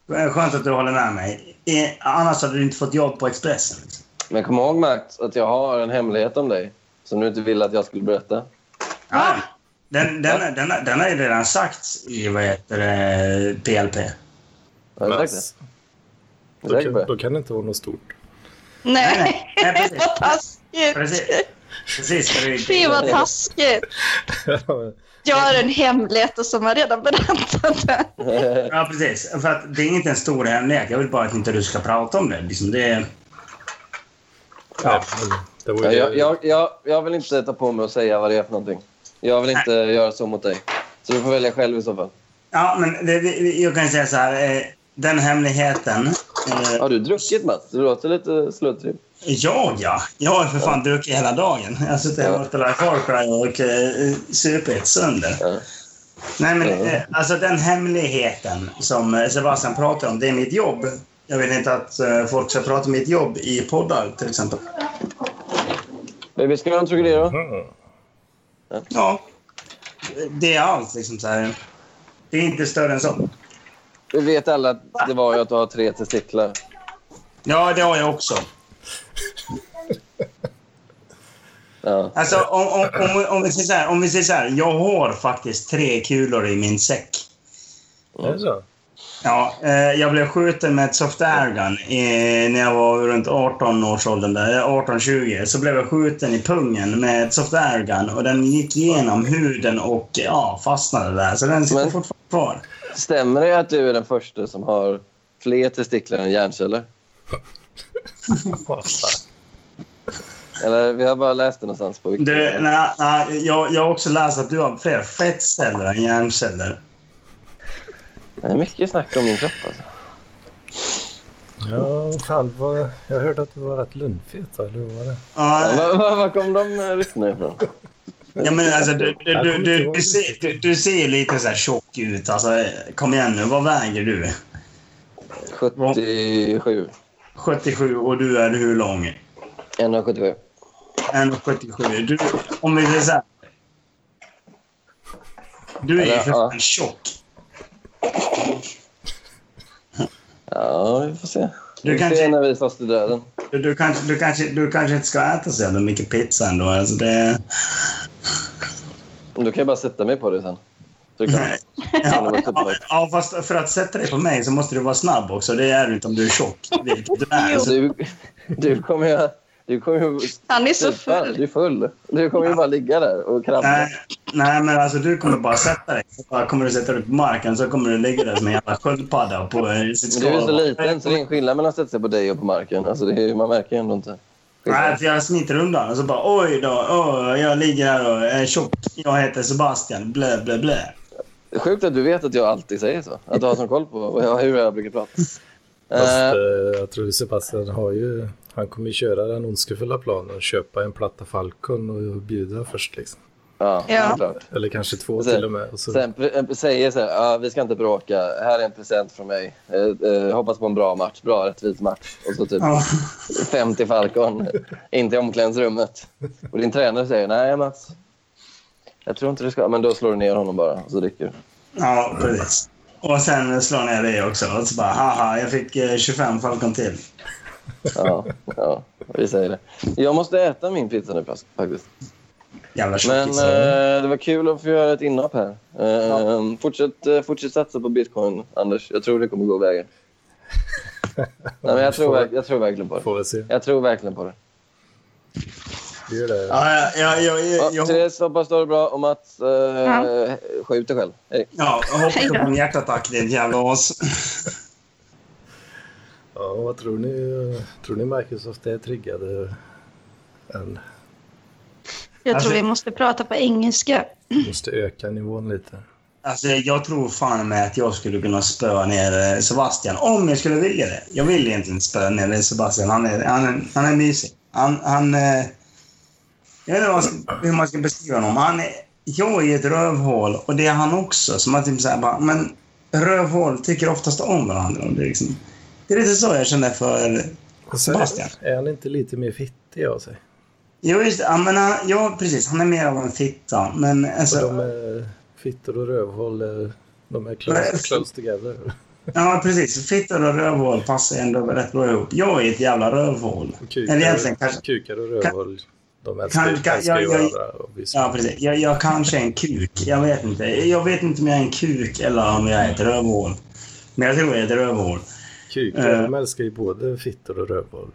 S1: Skönt att du håller med mig. Eh, Annars hade du inte fått jobb på Expressen. liksom.
S4: Men kom ihåg, Max, att jag har en hemlighet om dig som du inte ville att jag skulle berätta.
S1: Ja, Ah. den, den, den, den, har ju redan sagts i vad heter det, PLP.
S4: Har du sagt
S2: Nice.
S4: det? Är du
S2: Då
S4: säker på
S2: kan,
S4: det?
S2: då kan det inte vara något (laughs) stort.
S1: Nej,
S3: (laughs) Nej,
S1: nej, precis.
S3: vad
S1: Precis.
S3: taskigt.
S1: Precis. för det-
S3: Fy vad taskigt. Jag har en hemlighet och som har redan berättat det.
S1: Ja, precis. För att det är inte en stor hemlighet. Jag vill bara att inte du ska prata om det. Liksom det
S2: Ja. Det var
S4: Ja,
S2: ju,
S4: jag, jag, jag, jag vill inte ta på mig och säga vad det är för någonting. Jag vill inte göra så mot dig. Så du får välja själv i så fall.
S1: ja, men det, det, jag kan säga så här. eh, Den hemligheten. Eh,
S4: Har du druckit, Mats? Du låter lite sluddrig.
S1: jag, ja. Jag har för fan druckit hela dagen. Jag har suttit hemma och spelat Far Cry och eh, supit sönder.
S4: Ja.
S1: Nej, men eh, alltså den hemligheten som eh, Sebastian pratar om, det är mitt jobb. Jag vill inte att eh, folk ska prata om mitt jobb i poddar, till exempel.
S4: Baby, ska vi ha en Trocadero?
S2: Mm.
S1: Ja. Det är allt, liksom. Så här. Det är inte större än så.
S4: Vi vet alla att det var ju att du har tre testiklar.
S1: Ja, det har jag också.
S4: Ja.
S1: Alltså, om, om, om, om vi säger så här, om vi säger så här, jag har faktiskt tre kulor i min säck.
S2: Är det så?
S1: Ja, eh, jag blev skjuten med ett soft airgun eh, när jag var runt 18 års åldern, där, eh, 18-20. Så blev jag skjuten i pungen med ett soft airgun och den gick igenom huden och ja, fastnade där. Så den sitter
S4: Men-
S1: fortfarande kvar.
S4: Stämmer det att du är den första som har fler testiklar än hjärnceller?
S2: Vad fan.
S4: Eller vi har bara läst det någonstans på
S1: Du,
S4: Wikipedia.
S1: nej, nej, jag, jag har också läst att du har fler fettceller än hjärnceller.
S4: Det är mycket snack om din kropp alltså.
S2: Ja, fan vad... Jag hörde att du var rätt lundfet, va? eller hur var det?
S4: Ja,
S1: Ja,
S4: Var, var, var kom de eh, ryktena ifrån?
S1: ja men alltså du, du,
S2: Jag
S1: du,
S2: kommer inte
S1: du,
S2: ihåg
S1: du, ser, du, du ser lite så här tjock ut. Alltså, kom igen nu, vad väger du?
S4: 77.
S1: 77 och du är hur lång?
S4: 177.
S1: 1,77. Du, om vi säger så här. Du är ju för
S4: Ja.
S1: fan tjock.
S4: Ja, vi får se.
S1: Du
S4: vi får
S1: kanske-
S4: se när vi slåss till döden.
S1: Du, du, kanske, du, kanske, du kanske inte ska äta så jävla mycket pizza ändå. Alltså det,
S4: Då kan jag bara sätta mig på det sen. Så kan jag. Kan jag bara sätta mig.
S1: ja, fast för att sätta dig på mig så måste du vara snabb också. Det är du inte om du är tjock. Vilket du är. Så,
S4: Alltså, Du, du kommer ju... Du kommer ju...
S3: Han är så
S4: stupa.
S3: full.
S4: Du är full. Du kommer ju bara ligga där och krabba.
S1: nej, nej, men alltså du kommer bara sätta dig. Så bara kommer du sätta dig på marken så kommer du ligga där som en jävla sköldpadda på eh, sitt
S4: Men du är så
S1: skal.
S4: liten så det är en skillnad mellan att sätta sig på dig och på marken. Alltså, det är, man märker ju ändå inte.
S1: Nej, för jag smiter undan och så bara oj då, åh, jag ligger här och är tjock. Jag heter Sebastian, blä, blä, blä.
S4: Det är Sjukt att du vet att jag alltid säger så. Att du har sån koll på vad jag, hur jag brukar prata.
S2: Fast
S4: Eh,
S2: eh, jag tror Sebastian har ju... Han kommer ju köra den ondskefulla planen, köpa en platta Falcon och bjuda först liksom.
S4: ja,
S1: eh,
S3: Ja.
S4: ja. Klart.
S2: Eller kanske två
S4: Och sen-
S2: till och med. Och så,
S4: Sen pre- eh, säger så här, "Ja, vi ska inte bråka. Här är en present från mig. Eh, eh, hoppas på en bra match. Bra rättvis match. Och så typ
S1: Ja.
S4: 50 Falcon. inte i omklädningsrummet. Och din tränare säger, nej Mats. Jag tror inte du ska. Men då slår du ner honom bara och så dricker du.
S1: Ja, precis. Och sen slår ner det också. Och så bara, haha, jag fick eh, 25 Falcon till.
S4: Ja, ja, vi säger det. Jag måste äta min pizza nu faktiskt.
S1: Jävla
S4: Men
S1: tjockis.
S4: eh, det var kul att få göra ett inhopp här. Eh, fortsätt, eh, fortsätt satsa på bitcoin, Anders. Jag tror det kommer gå vägen. Nej, men jag, tror, verk- jag tror verkligen på det.
S2: Får vi se.
S4: Jag tror verkligen på det.
S2: Vi gör det.
S1: Ja, ja, ja, ja, ja,
S4: Ja,
S1: ja,
S4: Therese, hoppas du har det bra. Och Mats, eh,
S3: Ja.
S4: skjut dig själv. Hej.
S1: ja, jag hoppas på en hjärtattack, din jävla as.
S2: Ja, vad tror ni? Tror ni Microsoft är triggade än?
S3: Jag
S1: Alltså-
S3: tror vi måste prata på engelska.
S2: Måste öka nivån lite.
S1: Alltså, jag tror fan med att jag skulle kunna spöa ner eh, Sebastian, om jag skulle vilja det. Jag vill egentligen spöa ner Sebastian. Han är, han är, han är mysig. Han, han... eh, Jag vet inte vad man ska, hur man ska beskriva honom. Han är, jag är ett rövhål och det är han också. Som man typ så här bara, men rövhål tycker oftast om varandra. Det är, liksom, det är lite så jag känner för
S2: Och sen
S1: Sebastian.
S2: är han inte lite mer fittig av sig?
S1: Jo, just det. Ja, men han, ja, precis. Han är mer av en fitta. Men
S2: Så
S1: alltså...
S2: de är fittor och rövhåll. eh, De är close,
S1: Nej.
S2: close together.
S1: Ja, precis. Fittor och rövhål passar ändå rätt bra ihop. Jag är ett jävla rövhål. Eller egentligen kanske...
S2: kukar och rövhåll. De älskar,
S1: Kan- kan-
S2: älskar ju
S1: jag- jag-
S2: varandra. obviously.
S1: Ja, precis. Jag, jag kanske är en kuk. Jag vet inte. Jag vet inte om jag är en kuk eller om jag är ett rövhål. Men jag tror jag är ett rövhål.
S2: Kukar,
S1: Eh.
S2: de älskar ju både fittor och rövhål.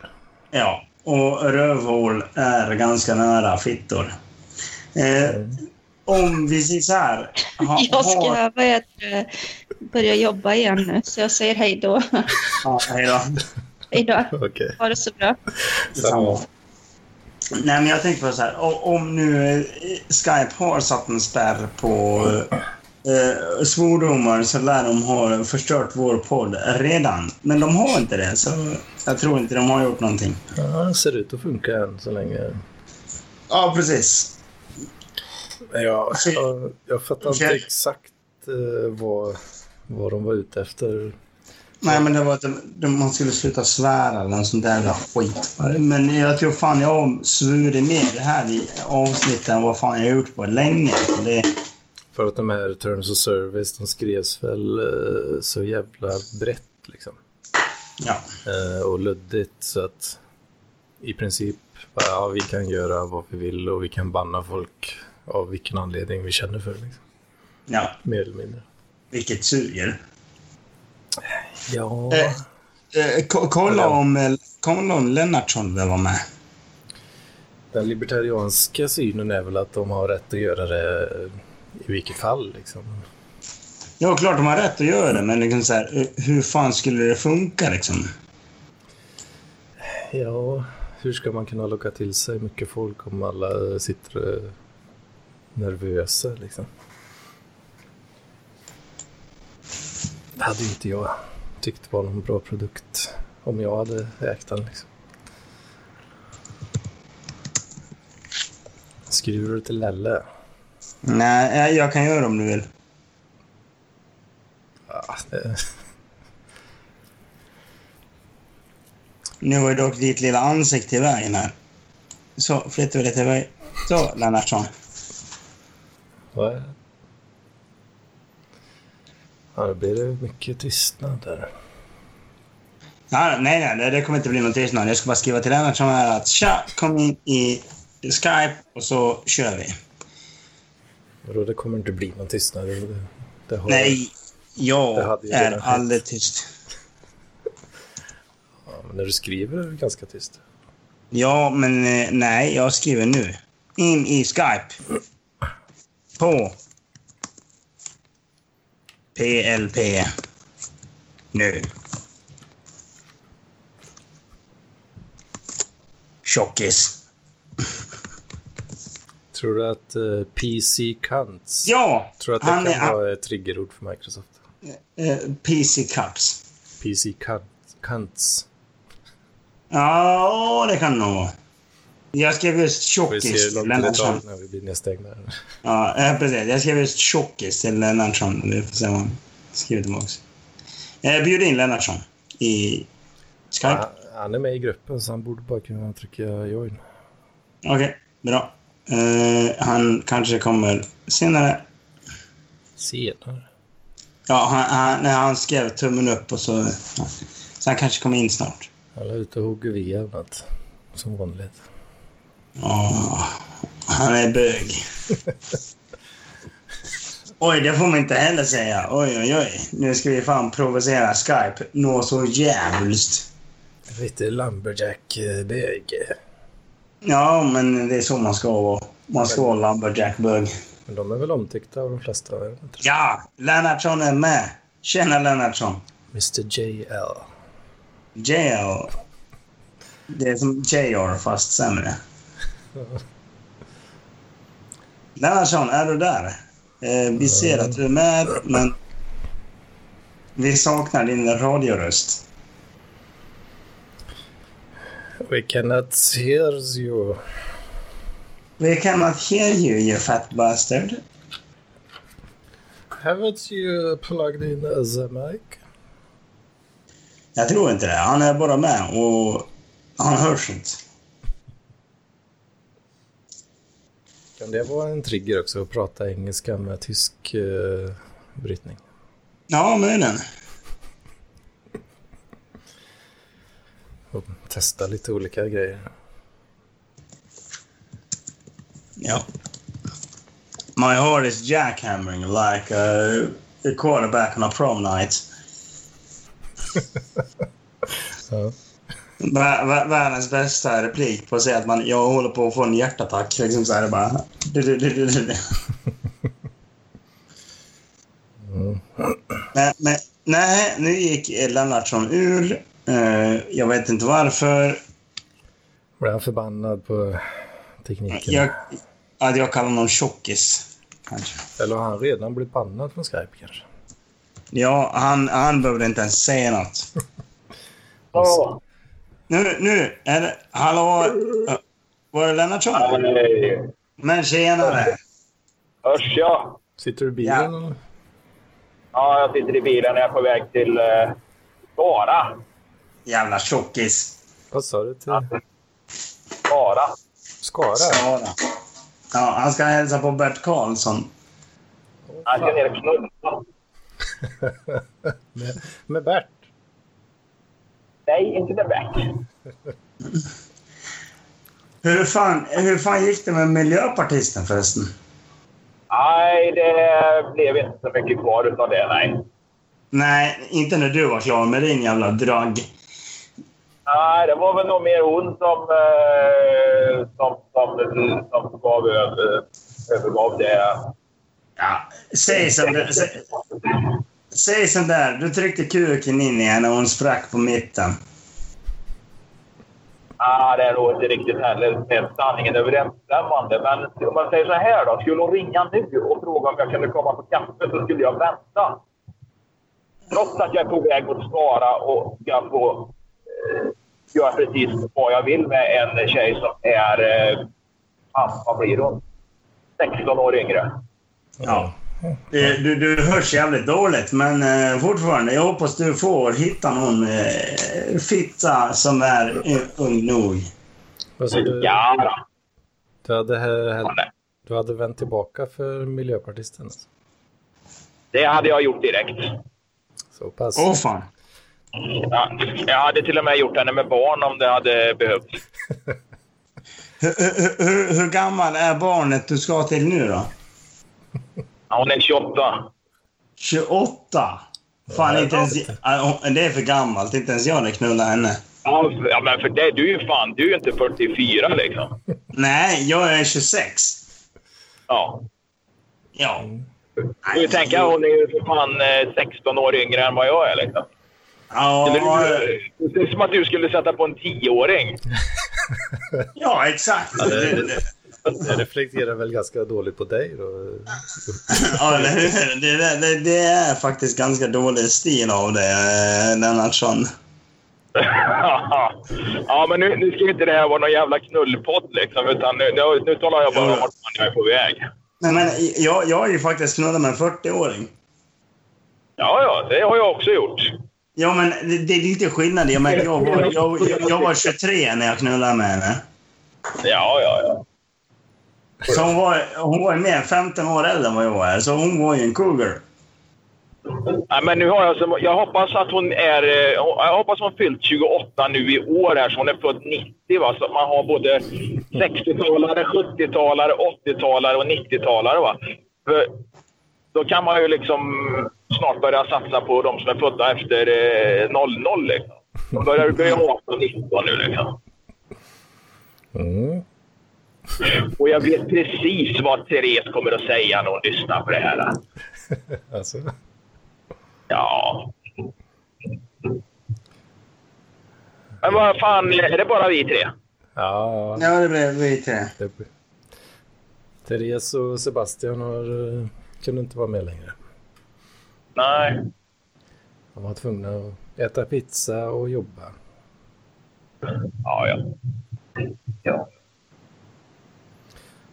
S1: Ja. Och rövhål är ganska nära fittor. Eh, om vi säger så här... ha-
S3: (laughs) Jag
S1: har-
S3: ska vad heter det, börja jobba igen nu, så jag säger hej då. (laughs)
S1: Ja, hej då.
S3: Hej då.
S2: Okej.
S3: Ha det så bra.
S1: Detsamma. Nej, men jag tänkte på så här. o- Om nu eh, Skype har satt en spärr på eh, svordomar så lär de ha förstört vår podd redan. Men de har inte det, så jag tror inte de har gjort någonting.
S2: Ja, det ser ut att funka än så länge.
S1: Ja, precis.
S2: Men Jag,
S1: Alltså,
S2: jag, jag fattar inte
S1: jag-
S2: exakt eh, vad, vad de var ute efter.
S1: Nej, men det var att de, de, man skulle sluta svära eller något sånt där jävla skit. Men jag tror fan jag har svurit mer det här i avsnittet än vad fan jag har gjort på länge. Så Det,
S2: För att de här Terms of Service, de skrevs väl eh, så jävla brett liksom.
S1: ja.
S2: Eh, och luddigt så att i princip, bara, ja vi kan göra vad vi vill och vi kan banna folk av vilken anledning vi känner för. Liksom.
S1: ja,
S2: Mer eller mindre.
S1: vilket suger.
S2: Ja,
S1: Eh, Eh, ko- kolla, om, eh, kolla om Lennartsson vill vara med.
S2: den libertarianska synen är väl att de har rätt att göra det eh, i vilket fall liksom.
S1: Ja, klart de har rätt att göra det, men liksom så här, eh, hur fan skulle det funka? Liksom?
S2: Ja, hur ska man kunna locka till sig mycket folk om alla eh, sitter eh, nervösa liksom? hade ju inte jag tyckt var någon bra produkt om jag hade ägt den. Liksom. Skriver du till Lelle?
S1: Nej, eh, jag kan göra det om du vill.
S2: Ja, det...
S1: Nu var ju dock ditt lilla ansikte i vägen här. Så, flyttar vi det till vägen. Så, Lennartsson.
S2: Vad är det? Ja, då blir det mycket tystnad där.
S1: Nej, nej, nej, det- det kommer inte bli någon tystnad. Jag ska bara skriva till Lennartsson här att tja, kom in i Skype och så kör vi.
S2: Vadå, det kommer inte bli någon tystnad. Det, det har...
S1: Nej,
S2: Det
S1: jag
S2: hade ju
S1: är
S2: redan skett.
S1: alldeles tyst.
S2: Ja, men när du skriver är det ganska tyst.
S1: Ja, men eh, nej, jag skriver nu. In i Skype. På. PLP. Nu. Tjockis.
S2: Tror du att eh, PC Cunts...
S1: Ja!
S2: Tror du att det
S1: han
S2: kan
S1: är
S2: vara ett triggerord för Microsoft?
S1: eh, PC Cups.
S2: PC Cunt- Cunts.
S1: Ja, det kan det nog vara. Jag skrev just
S2: Vi
S1: tjockis
S2: ser hur
S1: till
S2: långt det tar
S1: Lennartsson.
S2: när vi blir nedstängda. här.
S1: Ja, eh, precis. Jag skrev just tjockis till Lennartsson. Vi får se vad han skriver tillbaks. Eh, bjud in Lennartsson i Skype.
S2: Han, han är med i gruppen så han borde bara kunna trycka join.
S1: Okej, bra. Eh, han kanske kommer senare.
S2: Senare.
S1: Ja, han, han, nej, han skrev tummen upp och så... Ja. Så han kanske kommer in snart.
S2: Han är ute och hugger ved och annat. Som vanligt.
S1: Åh, han är bög. Oj, det får man inte heller säga. Oj, oj, oj. Nu ska vi fan provocera Skype nå så jävligt.
S2: Lite eh, Lumberjack-bög.
S1: Ja, men det är så man ska vara. Man ska vara Lumberjack-bög.
S2: Men de är väl omtyckta av de flesta? är de inte?
S1: Ja, Lennartsson är med. Tjena Lennartsson.
S2: Mr JL.
S1: JL. Det är som JR fast sämre. (laughs) Lennartsson, är du där? Eh, vi ser att du är med, men vi saknar din radioröst.
S2: We cannot hear you.
S1: We cannot hear you, you fat bastard.
S2: Haven't you plugged in the mic?
S1: Jag tror inte det. Han är bara med och han hörs inte.
S2: Kan det vara en trigger också att prata engelska med tysk uh, brytning?
S1: Ja, möjligen.
S2: Och testa lite olika grejer.
S1: Ja. My heart is jackhammering like a, a quarterback on a prom night.
S2: Ja.
S1: Vär- vär- Världens bästa replik på att säga att man, jag håller på att få en hjärtattack. Liksom så här, det bara... Du, du, du, du, du. du. Men, men, nej, nu gick eh, Lennartsson ur. Eh, jag vet inte varför.
S2: Blev han förbannad på tekniken?
S1: Jag, att jag kallar honom tjockis. Kanske.
S2: Eller har han redan blivit bannad från Skype kanske?
S1: Ja, han, han behövde inte ens säga något.
S5: Ja,
S1: Nu, nu! Är det, hallå? eh, Var det Lennartsson?
S5: hej.
S1: Men tjenare!
S5: Hörs jag?
S2: Sitter du i bilen? och-
S5: Ja, jag sitter i bilen och jag är på väg till eh, Skara.
S1: Jävla tjockis.
S2: Vad sa du till
S5: Skara.
S2: Skara?
S1: Sara. Ja, han ska hälsa på Bert Karlsson.
S5: Han ska ner och knulla.
S2: Med, med Bert?
S5: Nej, inte det Beck.
S1: Hur fan, hur fan gick det med miljöpartisten förresten?
S5: Nej, det blev inte så mycket kvar utav det, nej.
S1: Nej, inte när du var klar med din jävla drag.
S5: Nej, det var väl nog mer hon som, eh, som, som, som gav över, övergav det.
S1: Ja, säg som, det- sä- säg som där. Du tryckte kuken in i henne och hon sprack på mitten.
S5: Ah, det är nog inte riktigt heller med sanningen överensstämmande. Men om man säger så här då. Skulle hon ringa nu och fråga om jag kunde komma på kaffe så skulle jag vänta. trots att jag är på väg mot Skara och ska få eh, göra precis vad jag vill med en tjej som är, eh, fan, vad blir hon? 16 år yngre.
S1: Ja. Du, du, du hörs jävligt dåligt, men eh, fortfarande. Jag hoppas du får hitta någon eh, fitta som är eh, ung nog.
S2: Alltså, du,
S5: Ja, då.
S2: du, hade, he- du hade vänt tillbaka för miljöpartisten? Alltså.
S5: det hade jag gjort direkt.
S2: Så pass.
S1: Åh fan.
S5: Ja, jag hade till och med gjort henne med barn om det hade behövts.
S1: Hur, hur, hur, hur gammal är barnet du ska till nu då?
S5: Ja, Hon är 28.
S1: 28? Fan, inte ens, ja, hon- det är för gammalt. Inte ens jag hade knullat henne.
S5: Ja, för- Ja, men för det, du är ju fan, du är ju inte 44 liksom.
S1: Nej, jag är 26.
S5: Ja.
S1: Ja.
S5: Du tänker hon är ju för fan eh, 16 år yngre än vad jag är liksom. Eller,
S1: Ja,
S5: du- det är som att du skulle sätta på en 10-åring.
S1: ja exakt.
S2: Det reflekterar väl ganska dåligt på dig då?
S1: Ja, eller hur? Det, det, det, det är faktiskt ganska dålig stil av dig, eh, Lennartsson.
S5: (laughs) ja, men nu, nu ska ju inte det här vara någon jävla knullpodd liksom, utan nu, nu, nu talar jag bara om vart fan jag är på väg.
S1: Nej, men jag, jag har ju faktiskt knullat med en 40-åring.
S5: Ja, ja, det har jag också gjort.
S1: Ja, men det, det är lite skillnad. Jag, men, jag, var, jag, jag, jag var 23 när jag knullade med henne.
S5: Ja, ja, ja.
S1: Så hon var, hon var ju mer än 15 år äldre än vad jag är, så hon var ju en cougar.
S5: Nej, men nu har jag, så, jag hoppas att hon är... eh, Jag hoppas hon fyllt 28 nu i år här, så hon är född 90 va. Så att man har både 60-talare, 70-talare, 80-talare och 90-talare va. För då kan man ju liksom snart börja satsa på de som är födda efter eh, 00 liksom. De börjar bli 18-19 nu liksom.
S2: Mm.
S5: Och jag vet precis vad Therese kommer att säga när hon lyssnar på det här.
S2: Alltså.
S5: Ja. Men vad fan, är det bara vi tre?
S2: Ja, ja.
S1: Ja, det blev vi tre.
S2: Det... Therese och Sebastian har, eh, kunde inte vara med längre.
S5: Nej.
S2: De var tvungna att äta pizza och jobba.
S5: Ja, ja. ja.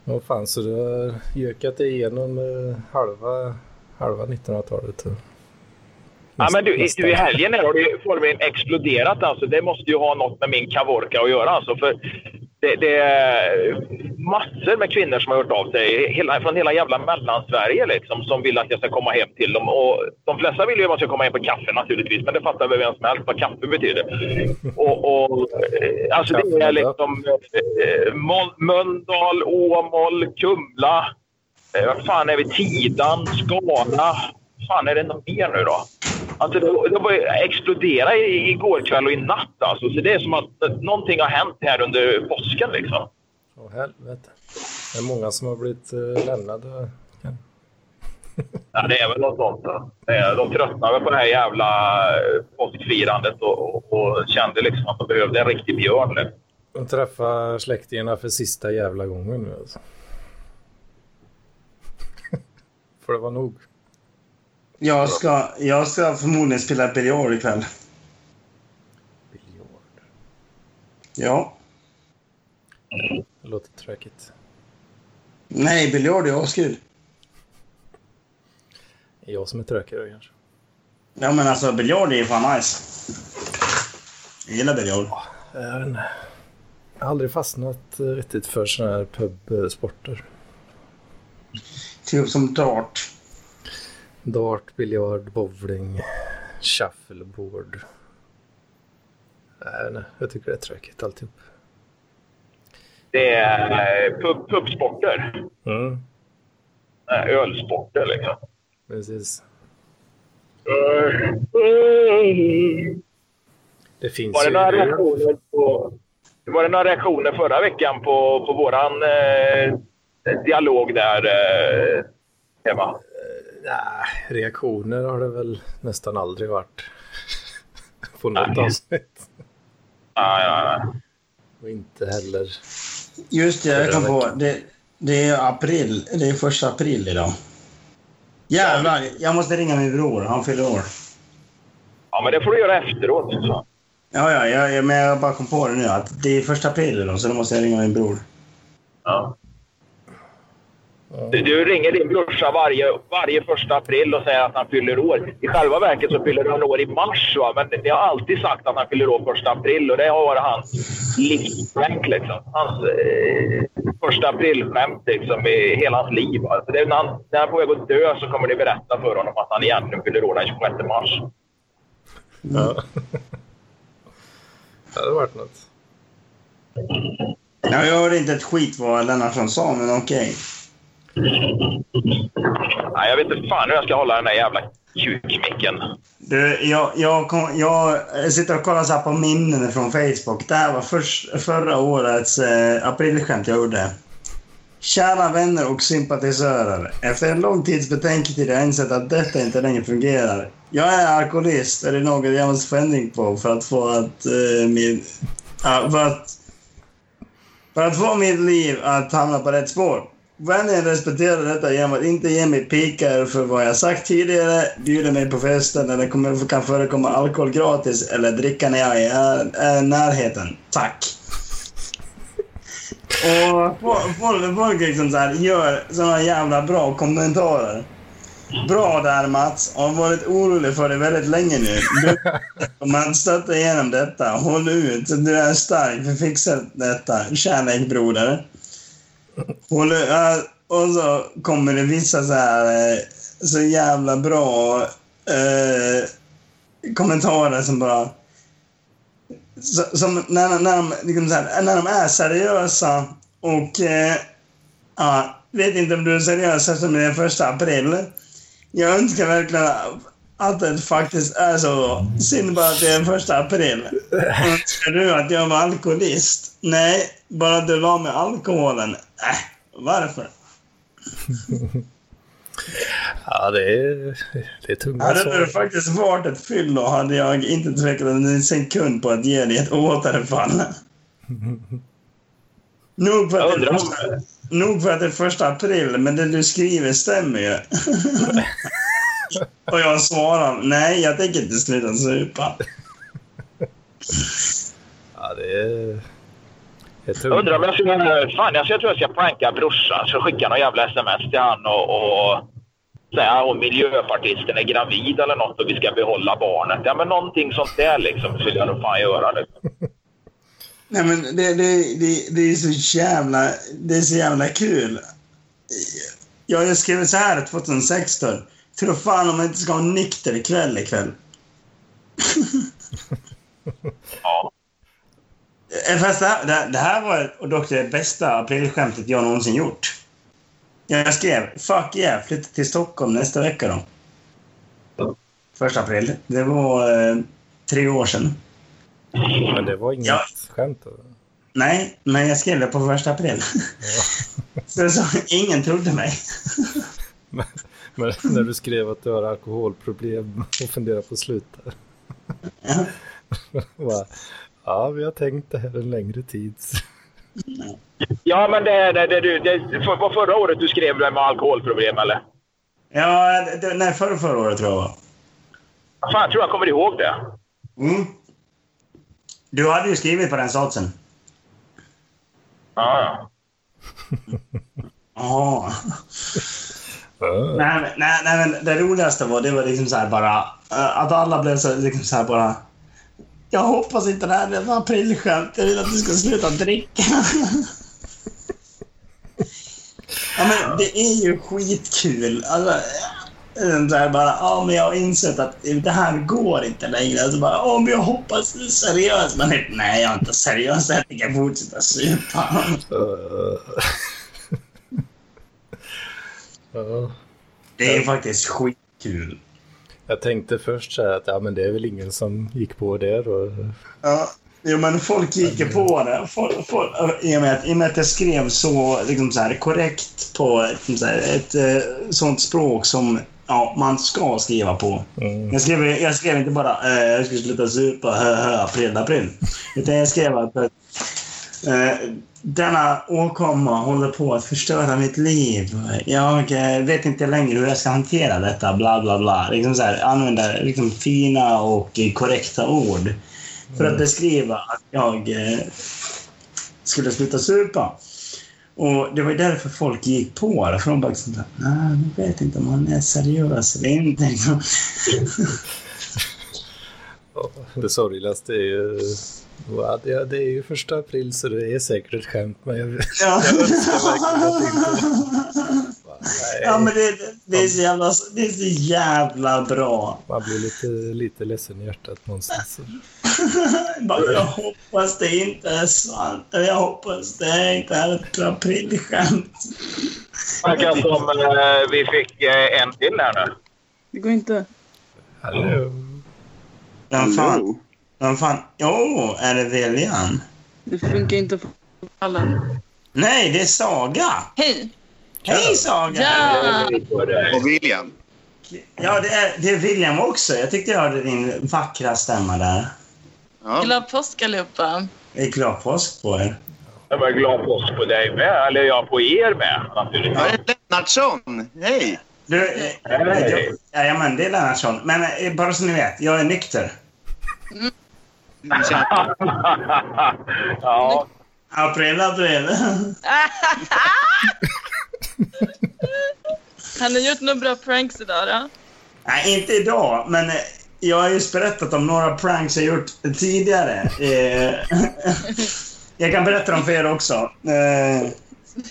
S2: Åh fan, så du har gökat dig igenom eh, halva, halva 1900-talet.
S5: ja men du, i-
S2: Nästan.
S5: du, i helgen här har du formligen exploderat. Alltså. Det måste ju ha något med min kavorka att göra. Alltså. För det, det är massor med kvinnor som har hört av sig hela, från hela jävla Mellansverige liksom, som vill att jag ska komma hem till dem. Och de flesta vill ju att man ska komma hem på kaffe naturligtvis, men det fattar väl vem som helst vad kaffe betyder. Och, och, eh, alltså, det är liksom eh, Mol- Mölndal, Åmål, Kumla. Eh, vad fan är vi? Tidan, Skara. fan är det något mer nu då? Alltså det, det bara exploderade i- igår kväll och i natt. Alltså. Så det är som att att någonting har hänt här under påsken. Liksom.
S2: Åh helvete. Det är många som har blivit eh, lämnade.
S5: Ja, det är väl något sånt. då. Eh, De tröttnade väl på det här jävla eh, påskfirandet och, och, och kände liksom att de behövde en riktig björn. Liksom.
S2: De träffar släktingarna för sista jävla gången nu alltså. (laughs) Får det vara nog?
S1: Jag ska, jag ska förmodligen spela biljard ikväll.
S2: Biljard.
S1: Ja.
S2: Det låter tråkigt.
S1: Nej, biljard är askul.
S2: Det är Jag som är tråkig då kanske.
S1: Ja, men alltså biljard är ju fan nice. Jag gillar biljard.
S2: Jag vet inte. Jag har aldrig fastnat eh, riktigt för sådana här pubsporter.
S1: Typ som dart.
S2: Dart, biljard, bowling, shuffleboard. Nej, nej, jag tycker det är tråkigt alltihop.
S5: Det är eh, pub, pubsporter.
S2: Mm,
S5: Eh, Ölsporter liksom.
S2: precis. Det finns
S5: Var det
S2: ju
S5: några
S2: idéer.
S5: reaktioner på... Var det några reaktioner förra veckan på, på våran eh, dialog där, eh, Eva?
S2: Nej, Äh, reaktioner har det väl nästan aldrig varit. (laughs) På något avsnitt.
S5: Nej, nej, nej.
S2: Och inte heller...
S1: Just det, jag
S2: Förra
S1: kom på. Det, det är april. Det är första april idag. Jävlar, jag måste ringa min bror. Han fyller år.
S5: Ja, men det får du göra efteråt.
S1: Ja, ja, jag, jag- men jag bara kom på det nu att det är första april då, så då måste jag ringa min bror.
S5: Ja. Du, du ringer din brorsa varje, varje första april och säger att han fyller år. I själva verket så fyller han år i mars, va? men det har alltid sagt att han fyller år första april och det har varit hans livsskämt. Liksom. Hans eh, första aprilskämt liksom, i hela hans liv. Va? Så det är när, han, när han är på väg att dö så kommer ni berätta för honom att han egentligen fyller år den 26 mars.
S1: Mm.
S2: Ja. det hade varit något.
S1: Ja, jag hörde inte ett skit vad Lennartsson sa, men okej.
S5: Nej, jag vet inte fan hur jag ska hålla den där jävla kukmicken.
S1: Du, jag, jag, kom, jag sitter och kollar så här på minnen från Facebook. Det här var förs- förra årets eh, aprilskämt jag gjorde. Kära vänner och sympatisörer. Efter en lång tids betänketid har jag insett att detta inte längre fungerar. Jag är alkoholist. Är det något jag måste få ändring på för att få att eh, min... ja, för att... För att få mitt liv att hamna på rätt spår. Vänligen respektera detta genom att inte ge mig pikar för vad jag sagt tidigare, bjuda mig på fester när det kommer, kan förekomma alkohol gratis eller dricka när jag är är- är i närheten. Tack. Och fo- folk, folk liksom så här gör såna jävla bra kommentarer. Bra där Mats, har varit orolig för dig väldigt länge nu. Du kommer att stötta igenom detta. Håll ut, du är stark, vi fixar detta. Kärlek broder. Och, det- ja, och så kommer det vissa så här eh, så jävla bra eh, kommentarer som bara... så- Som när, när, de, liksom så här, när de är seriösa och... Eh, ja, vet inte om du är seriös eftersom det är första april. Jag önskar verkligen att det faktiskt är så. Synd bara att det är första april.
S5: Mm.
S1: Önskar du att jag var alkoholist? Nej, bara att du la med alkoholen. Äh, varför?
S2: Ja, det är, det är tunga
S1: Hade
S2: svar.
S1: du faktiskt varit ett fyllo hade jag inte tvekat en sekund på att ge dig ett
S5: (laughs)
S1: återfall. Nog för,
S5: Jag
S1: att det
S5: undrar
S1: är
S5: om-
S1: första, nog för att det är första april, men det du skriver stämmer
S5: (laughs)
S1: ju. Och jag svarar, nej, jag tänker inte sluta supa.
S2: Ja, det är, det är
S5: Jag undrar
S2: tunga.
S5: om jag ska... Fan, jag tror jag ska pranka brorsan. Så skicka någon jävla sms till han och, och säga om miljöpartisten är gravid eller något och vi ska behålla barnet. Ja, men någonting sånt där liksom skulle jag nog fan göra. Liksom.
S1: Nej men det, det, det, det är så jävla, det är så jävla kul. Jag, jag skrev så här 2016. Tror fan om man inte ska ha en nykter kväll ikväll.
S5: Ja.
S1: Eh, Fast det, här, det, det här var dock det bästa aprilskämtet jag någonsin gjort. Jag skrev “Fuck yeah, flytta till Stockholm nästa vecka då”. Första april. Det var eh, tre år sedan.
S2: Men det var inget
S1: Ja.
S2: skämt. Då.
S1: Nej, men jag skrev det på första april. (laughs) så, så ingen trodde mig. (laughs)
S2: Men, men när du skrev att du har alkoholproblem och funderar på att sluta. (laughs)
S1: Ja.
S2: Bara, ja, vi har tänkt det här en längre tid. (laughs)
S5: Ja, men det, det, det, det, det för, var förra året du skrev det med alkoholproblem, eller?
S1: Ja, det- det, nej, förra, förra året tror jag var.
S5: Fan, jag tror jag kommer ihåg det.
S1: Mm. Du hade ju skrivit på den satsen.
S5: Ja, ja.
S1: Jaha.
S2: Ja.
S1: Nej, men- nej, nej, men det roligaste var, det var liksom så här bara, eh, att alla blev så, liksom så här bara... Jag hoppas inte det här är ett aprilskämt. Jag vill att du ska sluta dricka. ja, men det är ju skitkul. Alltså, eh, så här bara, ja, men jag har insett att det här går inte längre. Alltså bara, ja, men jag hoppas du är seriös. Men nej, jag är inte seriös. Jag tänker fortsätta supa.
S2: Eh. Ja.
S1: Det är faktiskt skitkul.
S2: Jag tänkte först så här att ja, men det är väl ingen som gick på det då.
S1: Ja, jo, men folk gick ju på det. Folk, folk, i, och med att, I och med att jag skrev så, liksom så här, korrekt på liksom så här, ett eh, sånt språk som ja, man ska skriva på. Jag, skrev, jag skrev inte bara eh, jag ska sluta supa, hö, hö, april, april. Utan jag skrev att eh, Eh, Denna åkomma håller på att förstöra mitt liv. Jag eh, vet inte längre hur jag ska hantera detta. Bla, bla, bla. Liksom så här, använder liksom fina och eh, korrekta ord för att beskriva att jag eh, skulle sluta supa. Och Det var ju därför folk gick på det. För de bara liksom, nej, jag vet inte om han är seriös eller inte. (laughs) Liksom.
S2: Ja, det sorgligaste är ju... Ja, det, det är ju första april så det är säkert ett skämt men jag,
S1: Ja.
S2: jag önskar verkligen att det inte var... Nej,
S1: (laughs) Ja, men det, det, är så jävla, det är så jävla bra.
S2: Man blir lite, lite ledsen i hjärtat någonstans.
S1: Bara, Jag hoppas det inte är sant. Jag hoppas det inte är ett aprilskämt.
S5: Verkar som eh, vi fick eh, en till här nu.
S6: Det går inte.
S2: Hallå.
S1: Vem fan? Vem fan? Jo, är det Viljan?
S6: Det funkar inte för alla.
S1: Nej, det är Saga!
S6: Hej!
S1: Hej Saga!
S6: Ja!
S7: Och William.
S1: Ja, det är, det är William också. Jag tyckte jag hörde din vackra stämma där.
S7: Ja.
S6: Glad påsk allihopa.
S1: Jag är glad påsk på er.
S5: Jag var glad påsk på dig med, eller ja, på er med naturligtvis.
S7: Ja, det är Lennartsson. Hej!
S1: Du, eh,
S5: Hej.
S1: jag- jajamän, det är Lennartsson. Men eh, bara så ni vet, jag är nykter.
S7: Tja.
S5: ja,
S1: April, april.
S6: Har ni gjort några bra pranks idag då?
S1: (laughs) Nej, inte idag, men eh, jag har just berättat om några pranks jag gjort tidigare. Eh, (laughs) jag kan berätta dem för er också. Eh,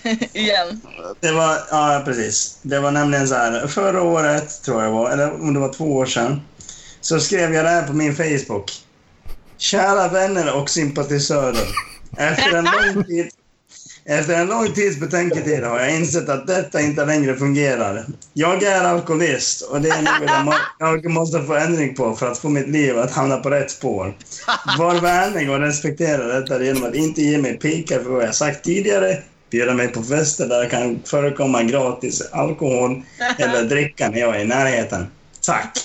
S6: (laughs) Igen.
S1: det var, ja precis. Det var nämligen så här, förra året tror jag det var, eller om det var två år sedan, så skrev jag det här på min Facebook. Kära vänner och sympatisörer. Efter en lång tid efter en lång tids betänketid har jag insett att detta inte längre fungerar. Jag är alkoholist och det är något jag må- jag måste få ändring på för att få mitt liv att hamna på rätt spår. Var vänlig och respektera detta genom att inte ge mig pikar för vad jag sagt tidigare, bjuda mig på fester där det kan förekomma gratis alkohol eller dricka när jag är i närheten. Tack!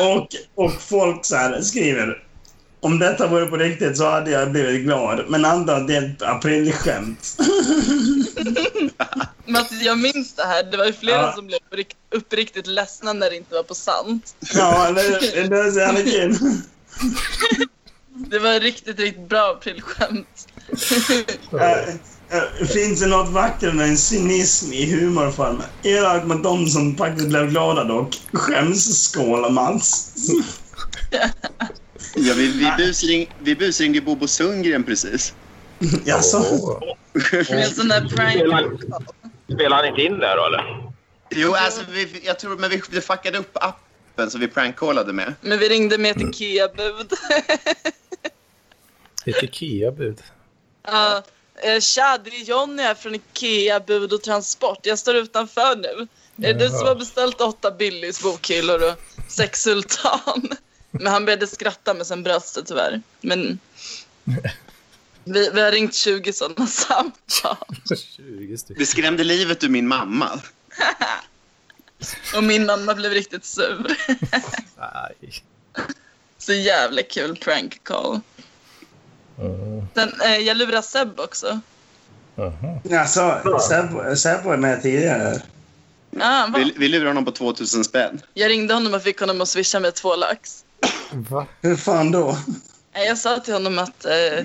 S1: Och, och folk så här skriver om detta vore på riktigt så hade jag blivit glad, men andra det är ett aprilskämt.
S6: Men alltså, jag minns det här. Det var ju flera
S1: Ja.
S6: som blev rikt- uppriktigt ledsna när det inte var på sant.
S1: Ja, eller hur? Det är så jävla kul.
S6: Det var riktigt, riktigt bra aprilskämt.
S1: Äh, äh, Finns det något vackert med en cynism i humorform? Elakt mot de som faktiskt blev glada dock. Skämsskål, Mats.
S7: Ja, vi, vi, busring, vi busringde Bobo Sundgren precis.
S1: Jaså?
S2: Åh.
S6: Med en sån där prank.
S5: spelar, spelar han inte in där då eller?
S7: Jo, alltså, vi, jag tror, men vi, vi fuckade upp appen som vi prankcallade med.
S6: Men vi ringde med ett Ikea-bud. (laughs)
S2: Ett Ikea-bud.
S6: Ja. Eh, Tja, det är Jonny här från Ikea Bud och Transport. Jag står utanför nu. Är det du som
S2: Jaha.
S6: har beställt åtta Billys bokhyllor och sex Sultan? (laughs) Men han började skratta, men sen bröts det tyvärr. Men vi, vi har ringt 20 sådana (laughs) samtal.
S2: 20 stycken.
S7: Det skrämde livet ur min mamma.
S6: Och min mamma blev riktigt sur. (laughs)
S2: Nej.
S6: Så jävla kul prank call.
S2: Mm. mhm.
S6: Sen, eh, jag lurar Seb också.
S2: Aha.
S1: Jaså, Säpo- Säpo är med tidigare.
S6: Ah, va?
S7: Vi, vi lurade honom på 2000 spänn.
S6: jag ringde honom och fick honom att swisha mig två lax.
S2: Va?
S1: Hur fan då?
S6: Nej, Jag sa till honom att, eh,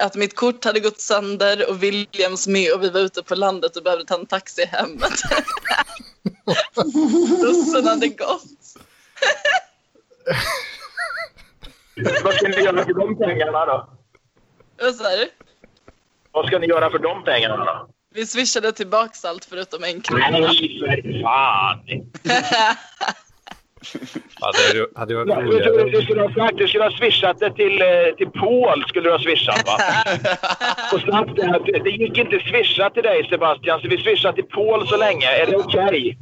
S6: att mitt kort hade gått sönder och Williams med och vi var ute på landet och behövde ta en taxi hem. (laughs) Bussen hade gått.
S5: Vad ska ni göra för de pengarna då?
S6: Och så här,
S5: Vad ska ni göra för de pengarna då?
S6: vi swishade tillbaks allt förutom en krona.
S5: Nej, för fan!
S2: Ja, det hade ju- hade ju varit
S5: Du, du, du,
S2: roligare.
S5: skulle ha sagt, du skulle ha swishat det till, eh, till Paul, skulle du ha swishat (laughs) va? Och snabbt det här, det gick inte swisha till dig Sebastian, så vi swishar till Paul så länge. Är det okej?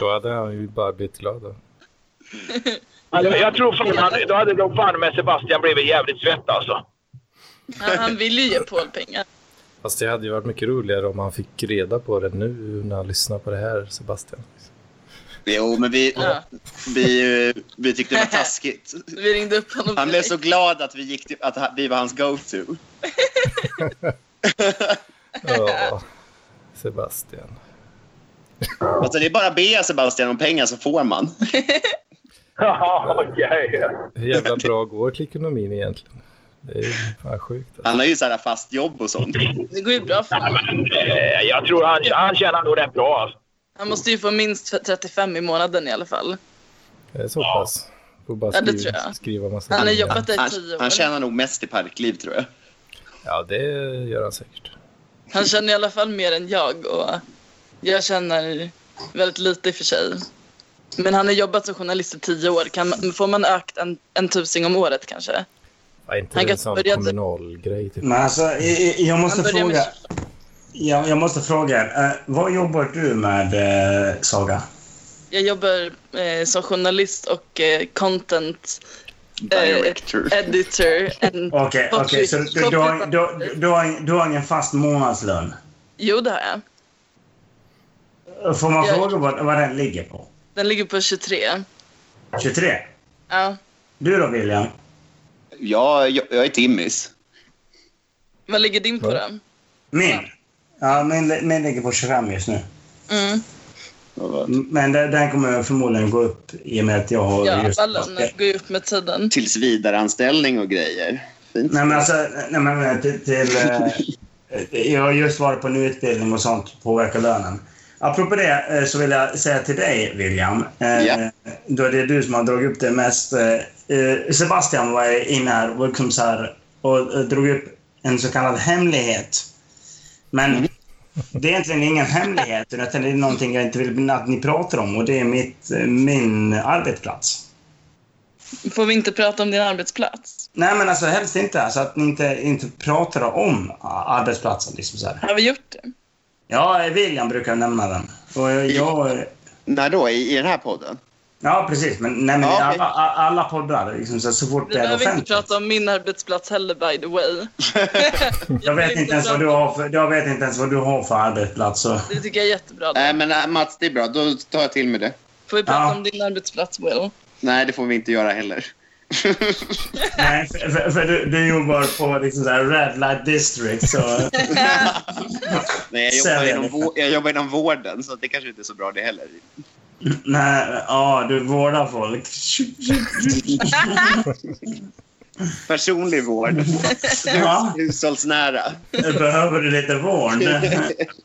S2: Då hade han ju bara blivit glad. Då.
S5: Alltså, jag tror fan, han, då hade nog fan med Sebastian blivit jävligt svett alltså.
S6: Han, han ville ju ge Paul pengar.
S2: Fast det
S6: (laughs)
S2: hade ju varit mycket roligare om han fick reda på det nu när han lyssnar på det här, Sebastian.
S7: Jo, men vi,
S6: Ja.
S7: vi, eh, vi tyckte det var taskigt.
S6: Vi ringde upp honom
S7: Han blev
S6: direkt.
S7: så glad att vi, gick till, att ha- vi var hans go-to.
S2: Ja, Sebastian.
S7: Alltså, det är bara att be Sebastian om pengar så får man.
S5: (laughs) Ja, okej.
S2: Hur jävla bra går ekonomin egentligen? Det är ju fan sjukt. Alltså.
S7: Han har ju så här fast jobb och sånt.
S6: Det går ju bra för honom.
S5: Eh, Jag tror han, han tjänar nog rätt bra. Alltså.
S6: Han måste ju få minst 35 i månaden i alla fall.
S2: Det är så pass. Får bara
S6: Ja, det
S2: skriva,
S6: tror jag.
S2: skriva massa
S6: Han har
S2: tidningar.
S6: jobbat där i
S7: Han,
S6: 10 år.
S7: han tjänar nog mest i parkliv, tror jag.
S2: Ja, det gör han säkert.
S6: Han tjänar i alla fall mer än jag och jag tjänar väldigt lite i och för sig. Men han har jobbat som journalist i tio år. Kan man, får man ökt en, en tusing om året kanske?
S2: Ja, inte
S6: Han
S2: en
S6: kan
S2: sån
S6: börja-
S2: kommunal grej. Typ.
S1: Men alltså, eh, eh, jag måste
S6: Han börjar med
S1: fråga. Jag, jag måste fråga. eh, vad jobbar du med, eh, Saga?
S6: Jag jobbar eh, som journalist och eh, content eh,
S7: Director.
S6: editor. And, (laughs)
S1: Okej, okej. så du, du, har, du, du, har, du har ingen fast månadslön.
S6: jo, det har jag.
S1: Får man
S6: Ja.
S1: fråga vad, vad den ligger på?
S6: Den ligger på 23.
S1: 23?
S6: Ja.
S1: Du då, William?
S7: Jag, jag, jag är Timmis.
S6: Vad ligger din på då?
S1: Min? Ja, min, min ligger på 25 just nu.
S6: Mm.
S1: Men den, den kommer förmodligen gå upp i och med att jag har
S6: Ja,
S1: just...
S6: alla går ju upp med tiden.
S7: Tills vidareanställning och grejer. Fint.
S1: Nej men alltså, nej, men till, till, eh, jag har just varit på en utbildning och sånt påverkar lönen. Apropå det eh, så vill jag säga till dig William, eh,
S7: Ja.
S1: då är det du som har dragit upp det mest. eh, eh, Sebastian var inne här och, liksom så här, och eh, drog upp en så kallad hemlighet. Men
S7: Mm.
S1: det är egentligen ingen hemlighet utan det är någonting jag inte vill att ni pratar om och det är mitt, eh, min arbetsplats.
S6: Får vi inte prata om din arbetsplats?
S1: Nej, men alltså helst inte. Alltså att ni inte, inte pratar om a- arbetsplatsen. Liksom så här.
S6: Har vi gjort det?
S1: Ja, eh, William brukar nämna den. Och jag, jag,
S7: När då? I, I den här podden?
S1: ja, precis. Men, nej, men i
S7: Ja, okej.
S1: alla, a- alla poddar, liksom, så, här, så fort
S6: Vi
S1: det är
S6: behöver inte
S1: offentligt.
S6: prata om min arbetsplats heller by the way.
S1: Jag vet, inte ens vad du
S6: prata-
S1: har för, jag vet inte ens vad du har för arbetsplats.
S6: (laughs)
S1: Så.
S6: Det tycker jag är jättebra.
S7: Nej, men äh, Mats, det är bra. Då tar jag till med det.
S6: Får vi prata
S1: Ja.
S6: om din arbetsplats Will?
S7: Nej, det får vi inte göra heller. (laughs)
S1: Nej, för, för, för du, du jobbar på liksom, så här, Red Light District.
S6: (laughs)
S1: Så.
S7: Nej, jag jobbar,
S1: Säljer
S7: inom
S1: lite.
S7: vå- jag jobbar inom vården, så det kanske inte är så bra det heller.
S1: Nej, ja, du vårdar folk.
S7: Personlig vård.
S1: Ja,
S7: Hushållsnära.
S1: behöver du lite
S6: (laughs)
S1: vård?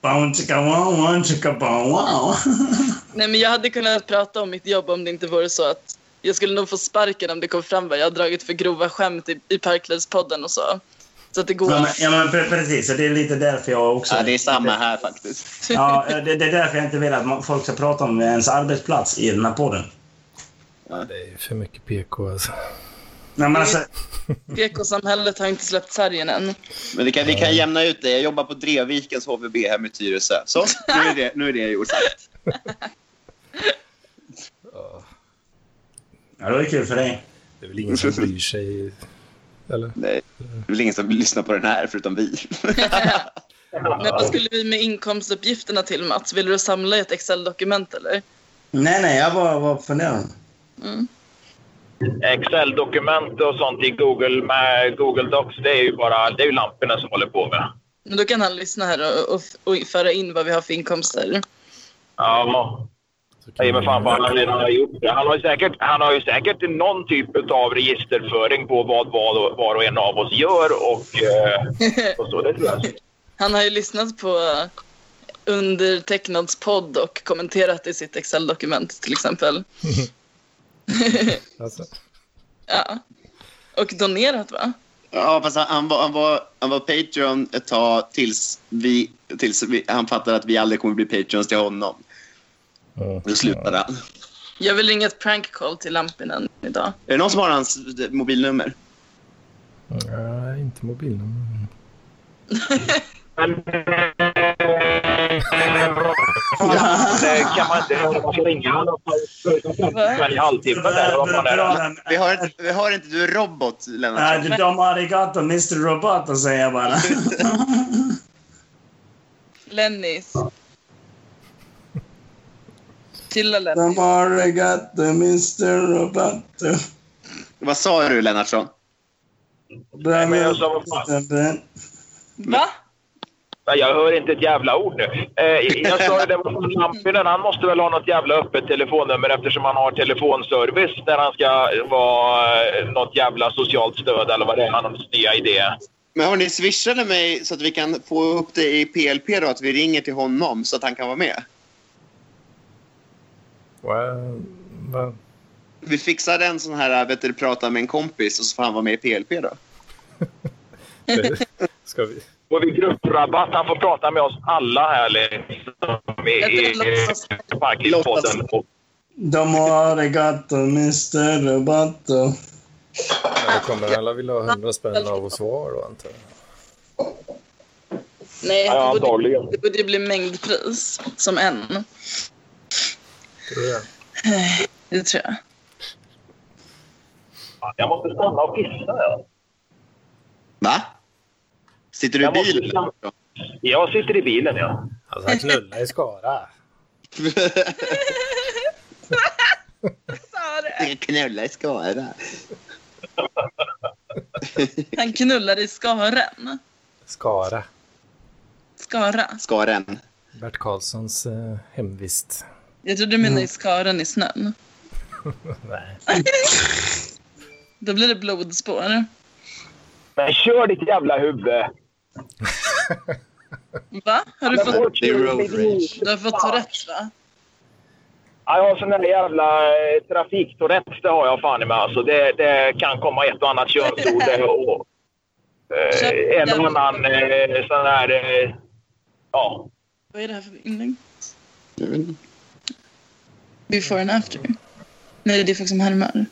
S1: Bountica wow, bountica bow, wow. (laughs)
S6: Nej men jag hade kunnat prata om mitt jobb om det inte vore så att jag skulle nog få sparken om det kom fram vad jag har dragit för grova skämt i, i Parklivspodden och så. Så att det går.
S1: Ja, men, eh, ja, men pre- precis. Och det är lite därför jag också...
S7: Ja, det är samma här faktiskt.
S1: Ja, det, det är därför jag inte vill att man, folk ska prata om ens arbetsplats i den här podden.
S2: Det är ju för mycket PK alltså.
S1: Nej, men alltså,
S6: PK-samhället har inte släppt sargen än.
S7: Men det kan, vi kan jämna ut det. Jag jobbar på Drevikens HVB hem i Tyresö. Så, nu är det, nu är det gjort. sagt.
S1: ja, det var ju kul för dig.
S2: Det är väl ingen som bryr sig. Eller?
S7: Nej, det är väl ingen som lyssnar på den här, förutom vi. (laughs)
S6: Men vad skulle vi med inkomstuppgifterna till Mats? Vill du samla i ett Excel-dokument eller?
S1: Nej, nej, jag bara var funderande.
S5: Excel-dokument och sånt i Google, med Google Docs, det är ju bara det är ju lamporna som håller på med det.
S6: Men då kan han lyssna här och, och, och föra in vad vi har för inkomster.
S5: Ja,
S2: Så kan
S5: nej, men
S2: man-
S5: fan vad han redan har gjort. det. Han har, ju säkert, han har ju säkert någon typ av registerföring på vad, vad och- var och en av oss gör och, eh, och så. Det tror jag.
S6: Han har ju lyssnat på undertecknads podd och kommenterat i sitt Excel-dokument till exempel.
S2: Alltså,
S6: Ja. Och donerat va?
S7: Ja, fast han, han, var, han, var, han var Patreon ett tag tills, vi, tills vi, han fattade att vi aldrig kommer bli Patreons till honom.
S2: mm.
S7: Då slutade han.
S6: Jag vill ringa ett prank call till Lampinen idag.
S7: Är det någon som har hans eh, mobilnummer?
S2: Mm. Nej, inte mobilnummer.
S5: Men eh, kan man inte kan man inte ringa honom för en halvtimme eller vad fan är det?
S7: Vi hör inte, vi hör inte du är robot, Lennart.
S1: Äh, de arigato, Mr. Roboto, säger jag bara.
S6: Lennis. Killar lät
S1: De har got the Mr. Roboto.
S7: Vad sa du, Lennartsson?
S1: Nej,
S5: men jag sa vad fan.
S6: Va?
S5: Nej, Jag hör inte ett jävla ord nu. Eh, jag sa ju det var som Lampinen. Han måste väl ha något jävla öppet telefonnummer eftersom han har telefonservice när han ska vara eh, något jävla socialt stöd eller vad det är hans nya idé.
S7: Men hörni, swisha det mig så att vi kan få upp det i PLP då, att vi ringer till honom så att han kan vara med.
S2: Wow. Va?
S7: Vi fixar en sån här, vet du, prata med en kompis och så får han vara med i PLP då.
S2: Det- (laughs) Ska vi?
S5: Och vi grupprabatt. Han får prata med oss alla här liksom, i, i, i Parkidspodden. Och
S1: De har got the Mr. Roboto.
S2: Ja, då kommer alla vilja ha 100 spänn av oss var då, antar jag.
S6: Nej,
S5: Ja,
S6: det, borde,
S5: antagligen.
S6: det borde ju bli mängdpris som en.
S2: Tror du det?
S6: Det tror jag.
S5: Jag måste stanna och pissa. ja.
S7: Va? Sitter du i
S5: Jag måste- liksom-
S7: bilen?
S5: Jag sitter i bilen, ja.
S2: Alltså, han knullar i Skara.
S6: Sa det.
S7: Jag knullar i Skara.
S6: Han knullar i skaren.
S2: Skara.
S6: Skara.
S7: Skaren.
S2: Bert Karlssons eh, hemvist.
S6: Jag trodde du menade i skaren i snön.
S2: Nej.
S6: Då blir det blodspår.
S5: kör ditt jävla huvud!
S6: Va? Har du fått,
S7: Det är road rage.
S6: du har fått Tourettes va?
S5: Ja, jag har sån där jävla eh, trafiktourette, det har jag fan i mig. Alltså, det, det kan komma ett och annat könsord. det,
S7: (laughs)
S5: Och, eh, en och annan eh, sån här... Eh, ja.
S6: Vad är det här för inlägg? Before and after. Nej, det är folk som härmar.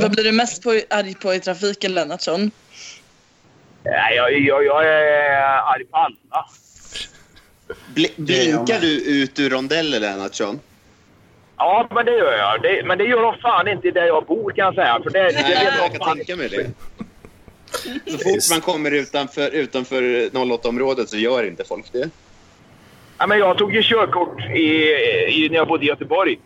S6: Vad blir du mest på, arg på i trafiken, Lennartsson?
S5: Nej, jag, jag, jag är arg på alla.
S7: Bli- blinkar du ut ur rondellen, Lennartsson?
S5: Ja, men det gör jag. Det, men det gör de fan inte där jag bor kan jag säga. För det, det
S7: Nej, jag
S5: vet de
S7: kan
S5: fan.
S7: tänka mig (laughs) det. Så fort man kommer utanför, utanför 08-området så gör inte folk det.
S5: Ja, men jag tog ju körkort i, i, när jag bodde i Göteborg.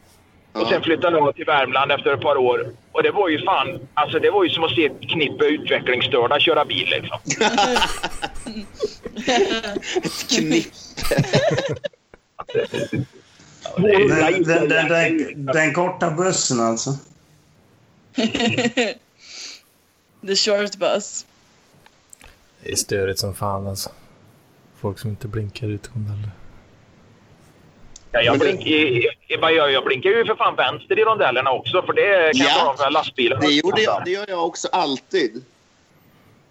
S5: Och sen
S7: Ja.
S5: flyttade jag till Värmland efter ett par år. Och det var ju fan, alltså det var ju som att se ett knippe utvecklingsstörda köra bil liksom.
S7: (laughs) Knipp.
S1: Den, den, den, den, den korta bussen alltså.
S6: The short bus.
S2: Det är störigt som fan alltså. Folk som inte blinkar ut heller.
S5: Ja, jag, blink, i, i, vad gör jag, jag blinkar ju för fan vänster i rondellerna också, för det kan
S7: Ja.
S5: ja. vara lastbilar.
S7: Det, gjorde jag, det gör jag också alltid.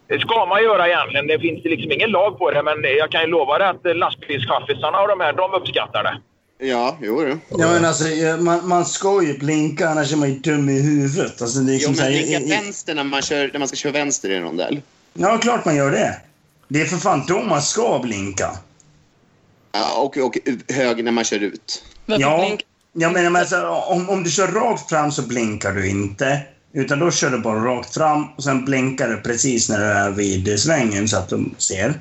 S5: Det ska man göra egentligen. Det finns ju liksom ingen lag på det, men jag kan ju lova dig att eh, lastbilschaffisarna och de här, de uppskattar det.
S7: Ja, jo du.
S1: Ja, men alltså, eh, man, man ska ju blinka, annars är man ju dum i huvudet. Alltså, det är
S7: Jo,
S1: liksom så
S7: men
S1: här,
S7: blinka
S1: i- i-
S7: vänster när man, kör, när man ska köra vänster i en rondell.
S1: Ja, klart man gör det. Det är för fan då man ska blinka.
S7: Ja, och, och höger när man kör ut.
S6: Varför
S1: Ja,
S6: blink-
S1: jag menar, men alltså, om, om du kör rakt fram så blinkar du inte. Utan då kör du bara rakt fram och sen blinkar du precis när du är vid svängen så att de ser.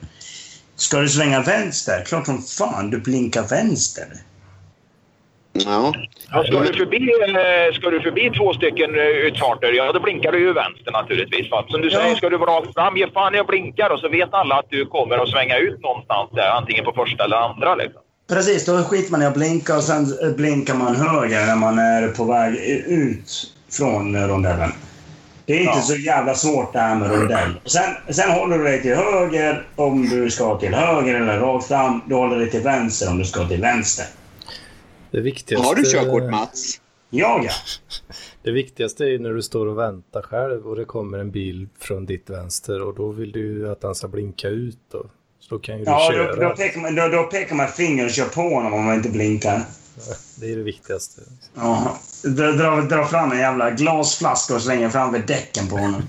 S1: Ska du svänga vänster? Klart som fan du blinkar vänster.
S7: Ja.
S5: Ja, ska, du förbi, eh, ska du förbi två stycken eh, utfarter, ja då blinkar du ju vänster naturligtvis. Va? Som du
S1: Ja.
S5: säger, ska du vara rakt fram, ge fan jag blinkar och så vet alla att du kommer att svänga ut någonstans där, antingen på första eller andra. Liksom.
S1: Precis, då skiter man i att blinka och sen eh, blinkar man höger när man är på väg ut från eh, rondellen. Det är inte
S5: Ja.
S1: så jävla svårt det här med rondell. Och Sen, sen håller du dig till höger om du ska till höger eller rakt fram. Du håller dig till vänster om du ska till vänster.
S2: Det viktigaste...
S7: Har du körkort, Mats? (laughs)
S1: Jag ja.
S2: Det viktigaste är ju när du står och väntar själv och det kommer en bil från ditt vänster och då vill du ju att han ska blinka ut då. Så då kan ju du
S1: ja
S2: köra.
S1: då, då, pekar man, då, då pekar man finger och kör på honom om man inte blinkar.
S2: Det är det viktigaste.
S1: Ja. Dra, dra, dra fram en jävla glasflaska och slänger framför däcken på honom.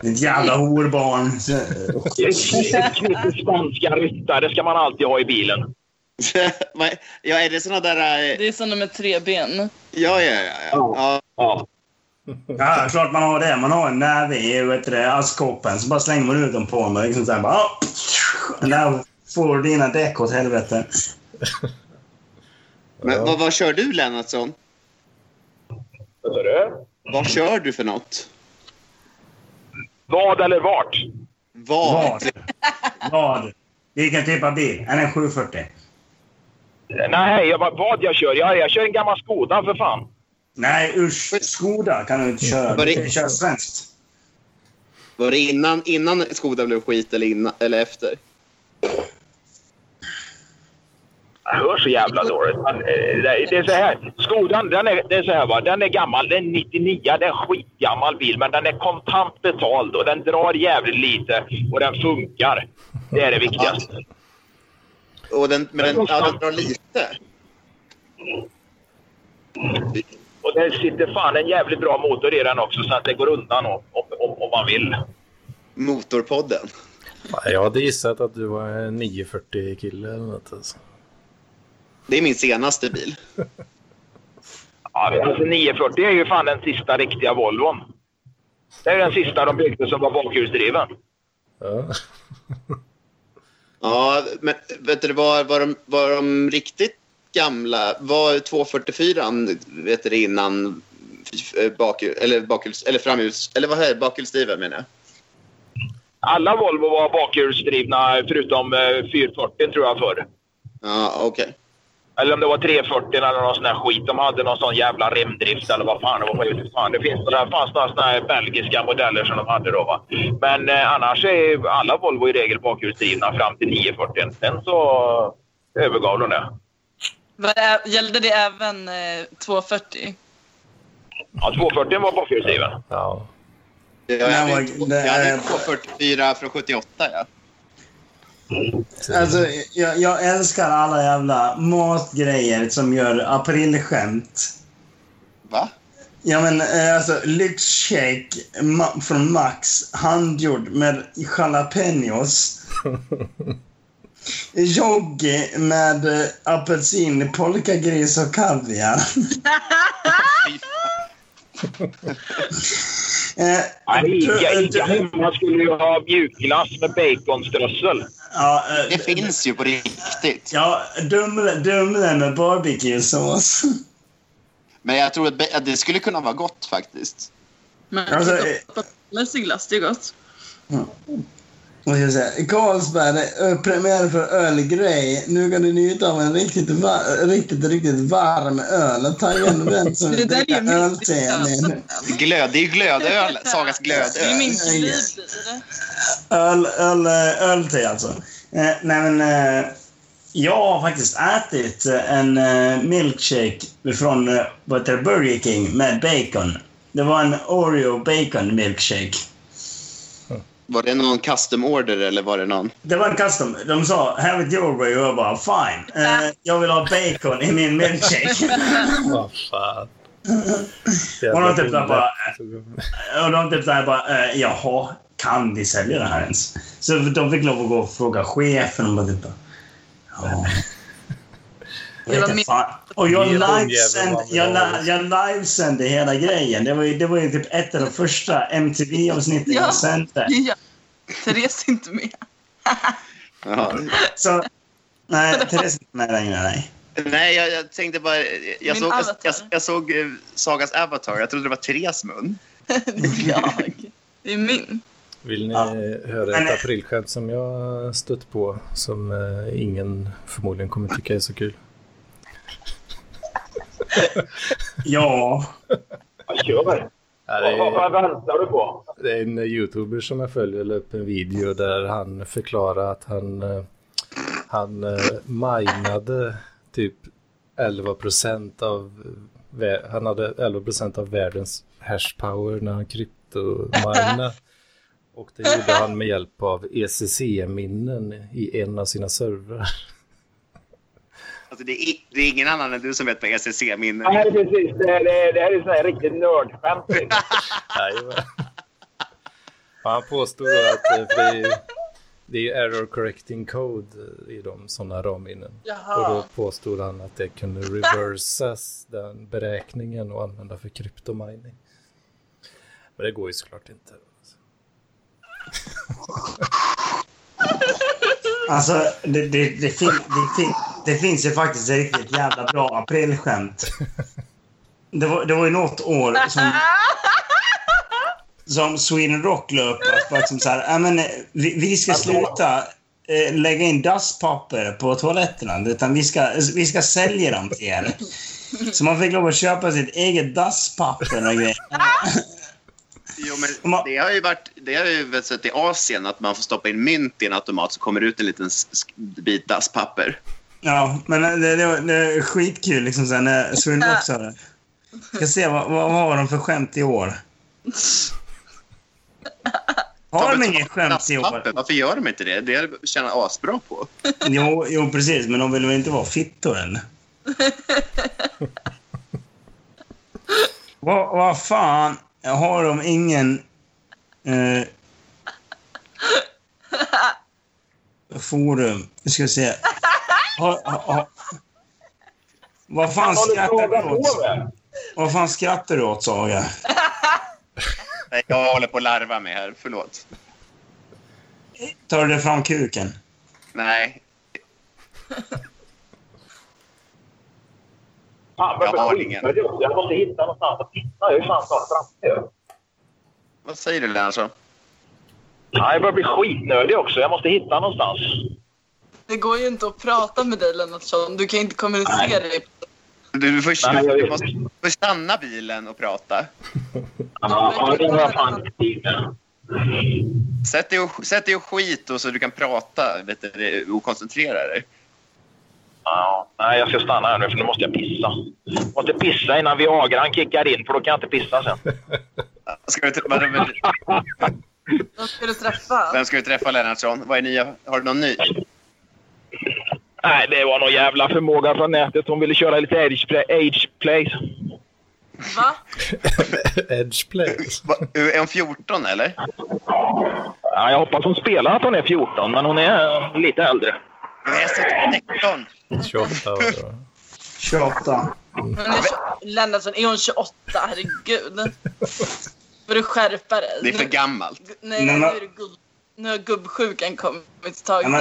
S1: Ditt jävla horbarn. Så-
S5: Ett knippe spanska ryttare ska man alltid ha i bilen.
S7: Vad- ja, är det såna där... eh,
S6: Det är sådana med tre ben.
S7: Ja, ja, ja. ja. ja.
S5: Ja.
S1: Ja, klart man har det. Man har en näve i vet du det, askkoppen, så bara slänger man ut dem på dem. och Liksom så här, bara, ah, pff, en näve. får dina däck åt helvete.
S7: Men vad, vad kör du, Lennartsson?
S5: Vad sa du?
S7: Vad kör du för något?
S5: Vad eller vart?
S7: Vad?
S1: Vad? Vad? Vilken typ av bil? Är den 740?
S5: Nej, jag bara, vad jag kör? Jag, jag kör en gammal Skoda för fan.
S1: Nej, usch. Skoda kan du inte köra. Du kan ju köra svenskt.
S7: Var det innan, innan Skoda blev skit eller, innan, eller efter?
S5: Jag hör så jävla dåligt. Men, eh, det det är så här. Skodan, den är, det är så här va. Den är gammal. Den är 99. Det är en skitgammal bil. Men den är kontant betald och den drar jävligt lite. Och den funkar. Det är det viktigaste.
S7: Och den, men den, ja, den drar lite.
S5: Och det sitter fan en jävligt bra motor i den också så att det går undan om, om, om, om man vill.
S7: Motorpodden.
S2: Fan, Jag hade gissat att du var en 940-kille eller något. Alltså.
S7: Det är min senaste bil.
S5: Ja, alltså 940 är ju fan den sista riktiga Volvon. Det är ju den sista de byggde som var bakhjulsdriven.
S2: Ja.
S7: Ja, men vet du, var, var, de, var de riktigt gamla? Var 244 vet du, innan eh, bakhjul, eller bakhjuls, eller framhjuls, eller vad är det? bakhjulsdriven menar jag?
S5: Alla Volvo var bakhjulsdrivna förutom eh, 440 tror jag förr.
S7: Ja, okej.
S5: Eller om det var 340 eller någon sån här skit. De hade någon sån jävla remdrift eller vad fan det var. Jag vet inte Fan, det finns några, fanns några såna här belgiska modeller som de hade då. Va? Men eh, annars är alla Volvo i regel bakhjulsdrivna fram till 940. Sen så övergav de det.
S6: Vad är, gällde det även eh, 240?
S5: Ja, 240 var bakhjulsdriven.
S2: ja.
S7: Jag hade
S1: Nej,
S7: en-
S1: det
S7: jag hade
S1: är-
S7: en 244 från 78, ja.
S1: Alltså, jag, jag älskar alla jävla matgrejer som gör aprilskämt.
S7: Va?
S1: Ja, men eh, alltså lyxshake ma- från Max, handgjord med jalapenos. Joggi med eh, apelsin, polkagris och kaviar.
S7: Fy fan.
S1: Eh,
S5: Nej,
S1: du-
S5: Ica,
S1: du-
S5: Ica hemma skulle ju ha mjukglass med baconströssel.
S1: Ja, eh,
S7: Det finns ju på riktigt.
S1: ja Dumle, dumle med barbecuesås.
S7: Men jag tror att be- att det skulle kunna vara gott faktiskt.
S6: Men
S1: Alltså,
S6: alltså, glass, det är gott.
S1: Vad ska jag säga? Carlsberg, eh, premiär för ölgrej. Nu kan du njuta av en riktigt, va- riktigt, riktigt varm öl. Ta igen den
S6: (laughs)
S1: som
S6: Det
S1: vill
S6: där är
S1: dricka
S6: ju min
S1: öltening.
S7: Glöd, det är
S1: (laughs)
S7: ju glödöl. Sagas
S6: Det är min
S7: glödöl.
S6: glidbil.
S1: Öl, öl, eh, ölte alltså. Eh, nej men, eh, jag har faktiskt ätit eh, en eh, milkshake från eh, vad heter det, Burger King med bacon. Det var en Oreo bacon milkshake.
S7: Var det någon custom order eller var det någon?
S1: Det var en custom. De sa “Have it your way” och jag bara “Fine”. Eh, jag vill ha bacon i min
S6: (laughs)
S1: milkshake.
S2: Vad fan.
S1: Var det typ där bara-
S2: Tog-
S1: Och de typ såhär bara, eh, jaha, kan vi sälja det här ens? Så de fick lov att gå och fråga chefen och bara typ, ja.
S6: Det
S1: Jag
S6: var
S1: vet
S6: min-
S1: inte fan. Och jag
S2: Min
S1: livesände
S2: hundjävel
S1: jag,
S2: var
S1: li- jag livesände hela grejen. Det var ju, det var ju typ ett av de första MTV-avsnitten
S6: Ja.
S1: jag sände.
S6: Ja. Therese är inte med.
S7: Jaha.
S1: Så, nej, Therese är inte med längre, nej.
S7: Nej, jag, jag tänkte bara... Jag
S6: Min
S7: såg, jag,
S6: avatar.
S7: jag, jag såg eh, Sagas Avatar. Jag trodde det var Therese mun.
S6: Det är jag. Det är min.
S2: Vill ni
S1: Ja.
S2: höra
S1: Men-
S2: ett aprilskämt som jag stött på som eh, ingen förmodligen kommer tycka är så kul?
S1: Ja.
S5: Vad kör?
S2: Ja, det,
S5: Vad vad-
S2: är,
S5: vad väntar du på?
S2: det är en youtuber som jag följer la upp en video där han förklarar att han, eh, han eh, minade typ 11 procent av eh, vä- han hade 11 procent av världens hashpower när han kryptominade. Och det gjorde han med hjälp av ECC-minnen i en av sina servrar.
S7: Alltså, det, är, det är ingen annan än du som vet vad E ECC-minnen
S5: Det här är precis. Det, här- det, här- det här är sån här riktigt nördskämt.
S2: Jajamän. Ja, Han påstår då att eh, för det är, det är error correcting code eh, i de sådana ramminnen. Och då
S6: Jaha.
S2: påstod han att det kunde reversas den beräkningen och använda för kryptomining. Men det går ju såklart inte.
S1: Alltså, det, det, det, fin, det, fin, det finns ju faktiskt ett riktigt jävla bra aprilskämt. Det var, det var ju något år som, som Sweden Rock la upp. Att liksom så här, "Ja, men, eh, vi, vi ska sluta eh, lägga in dasspapper på toaletterna. Utan vi ska, vi ska sälja dem till er. Så man fick lov att köpa sitt eget dasspapper och grejer.
S7: Jo, men det har ju varit, det har ju väl sett i Asien att man får stoppa in mynt i en automat så kommer det ut en liten s- s- bit dasspapper.
S1: Ja, men det, det, var- det är skitkul liksom sen när Sweden Rock sa det. Ska se vad, vad har de för skämt i år. Har de inget skämt i år?
S7: Dasspapper, Varför gör de inte det? Det tjänar jag asbra på.
S1: Jo, jo, precis. Men de vill väl inte vara fittor än? Vad vad fan har de ingen... Eh, forum. Nu ska vi se. Har- har- har- Vad fan skrattar du åt?
S5: med?
S1: Vad fan skrattar du åt, Saga?
S7: Nej, jag håller på att larva mig här. Förlåt.
S1: Tar du fram kuken?
S7: Nej.
S5: Fan, vad
S7: Jag har
S5: skit.
S7: ingen.
S5: Jag måste hitta någonstans att titta. Jag är fan snart framme.
S7: Vad säger du, Lennartsson?
S5: Ja, jag börjar bli skitnödig också. Jag måste hitta någonstans.
S6: Det går ju inte att prata med dig Lennartsson. Du kan inte kommunicera. i-
S7: Du får,
S5: Nej, jag
S7: du
S5: vet
S7: måste
S5: inte.
S7: du får stanna bilen och prata.
S5: Ja, ja, det var fan i tiden.
S7: Sätt dig och, sätt dig och skit och så du kan prata vet du, och koncentrera dig.
S5: Ja, nej, jag ska stanna här nu för nu måste jag pissa. Måste pissa innan Viagran kickar in för då kan jag inte pissa sen.
S7: Ska vi, tr- vem-
S6: Vem ska du träffa?
S7: vem ska vi träffa, Lennartsson? Vad är nya? Har du någon ny?
S5: (laughs) Nej, det var någon jävla förmåga från nätet. Hon ville köra lite age play. Age play.
S6: Va?
S2: Edge play.
S7: Va, är hon 14, eller?
S5: Ja, jag hoppas hon spelar att hon är 14, men hon är eh, lite äldre.
S7: Nej, jag sätter 19.
S2: 28 var det då.
S1: 28.
S6: Hon är tjo- Lennartsson, är hon 28? Herregud. Får du skärpa dig?
S7: Det är för gammalt.
S6: Nu- Nej,
S1: Nej,
S6: nu
S1: men-
S6: är det gubb... Nu har gubbsjukan kommit tag
S1: Ja, men,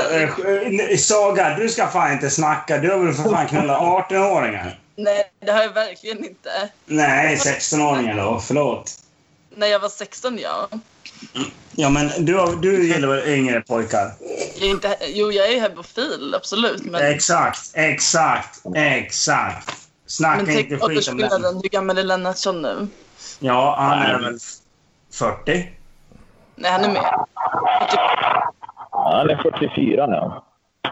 S6: i
S1: eh, Saga, du ska fan inte snacka. Du har väl för fan knullat 18-åringar?
S6: Nej, det har jag verkligen inte.
S1: Nej, 16-åringar då. Förlåt.
S6: När jag var 16, ja.
S1: Ja, men du, har- du gillar väl yngre pojkar?
S6: Jag är inte... Jo, jag är hebofil, absolut. Men,
S1: Exakt, exakt, exakt. Snacka
S6: men tänk
S1: inte skit om den.
S6: åldersskillnaden. Hur gammal är Lennartsson nu?
S1: Ja, han är väl 40?
S6: Nej, han är med.
S5: Ja, han är 44 nu.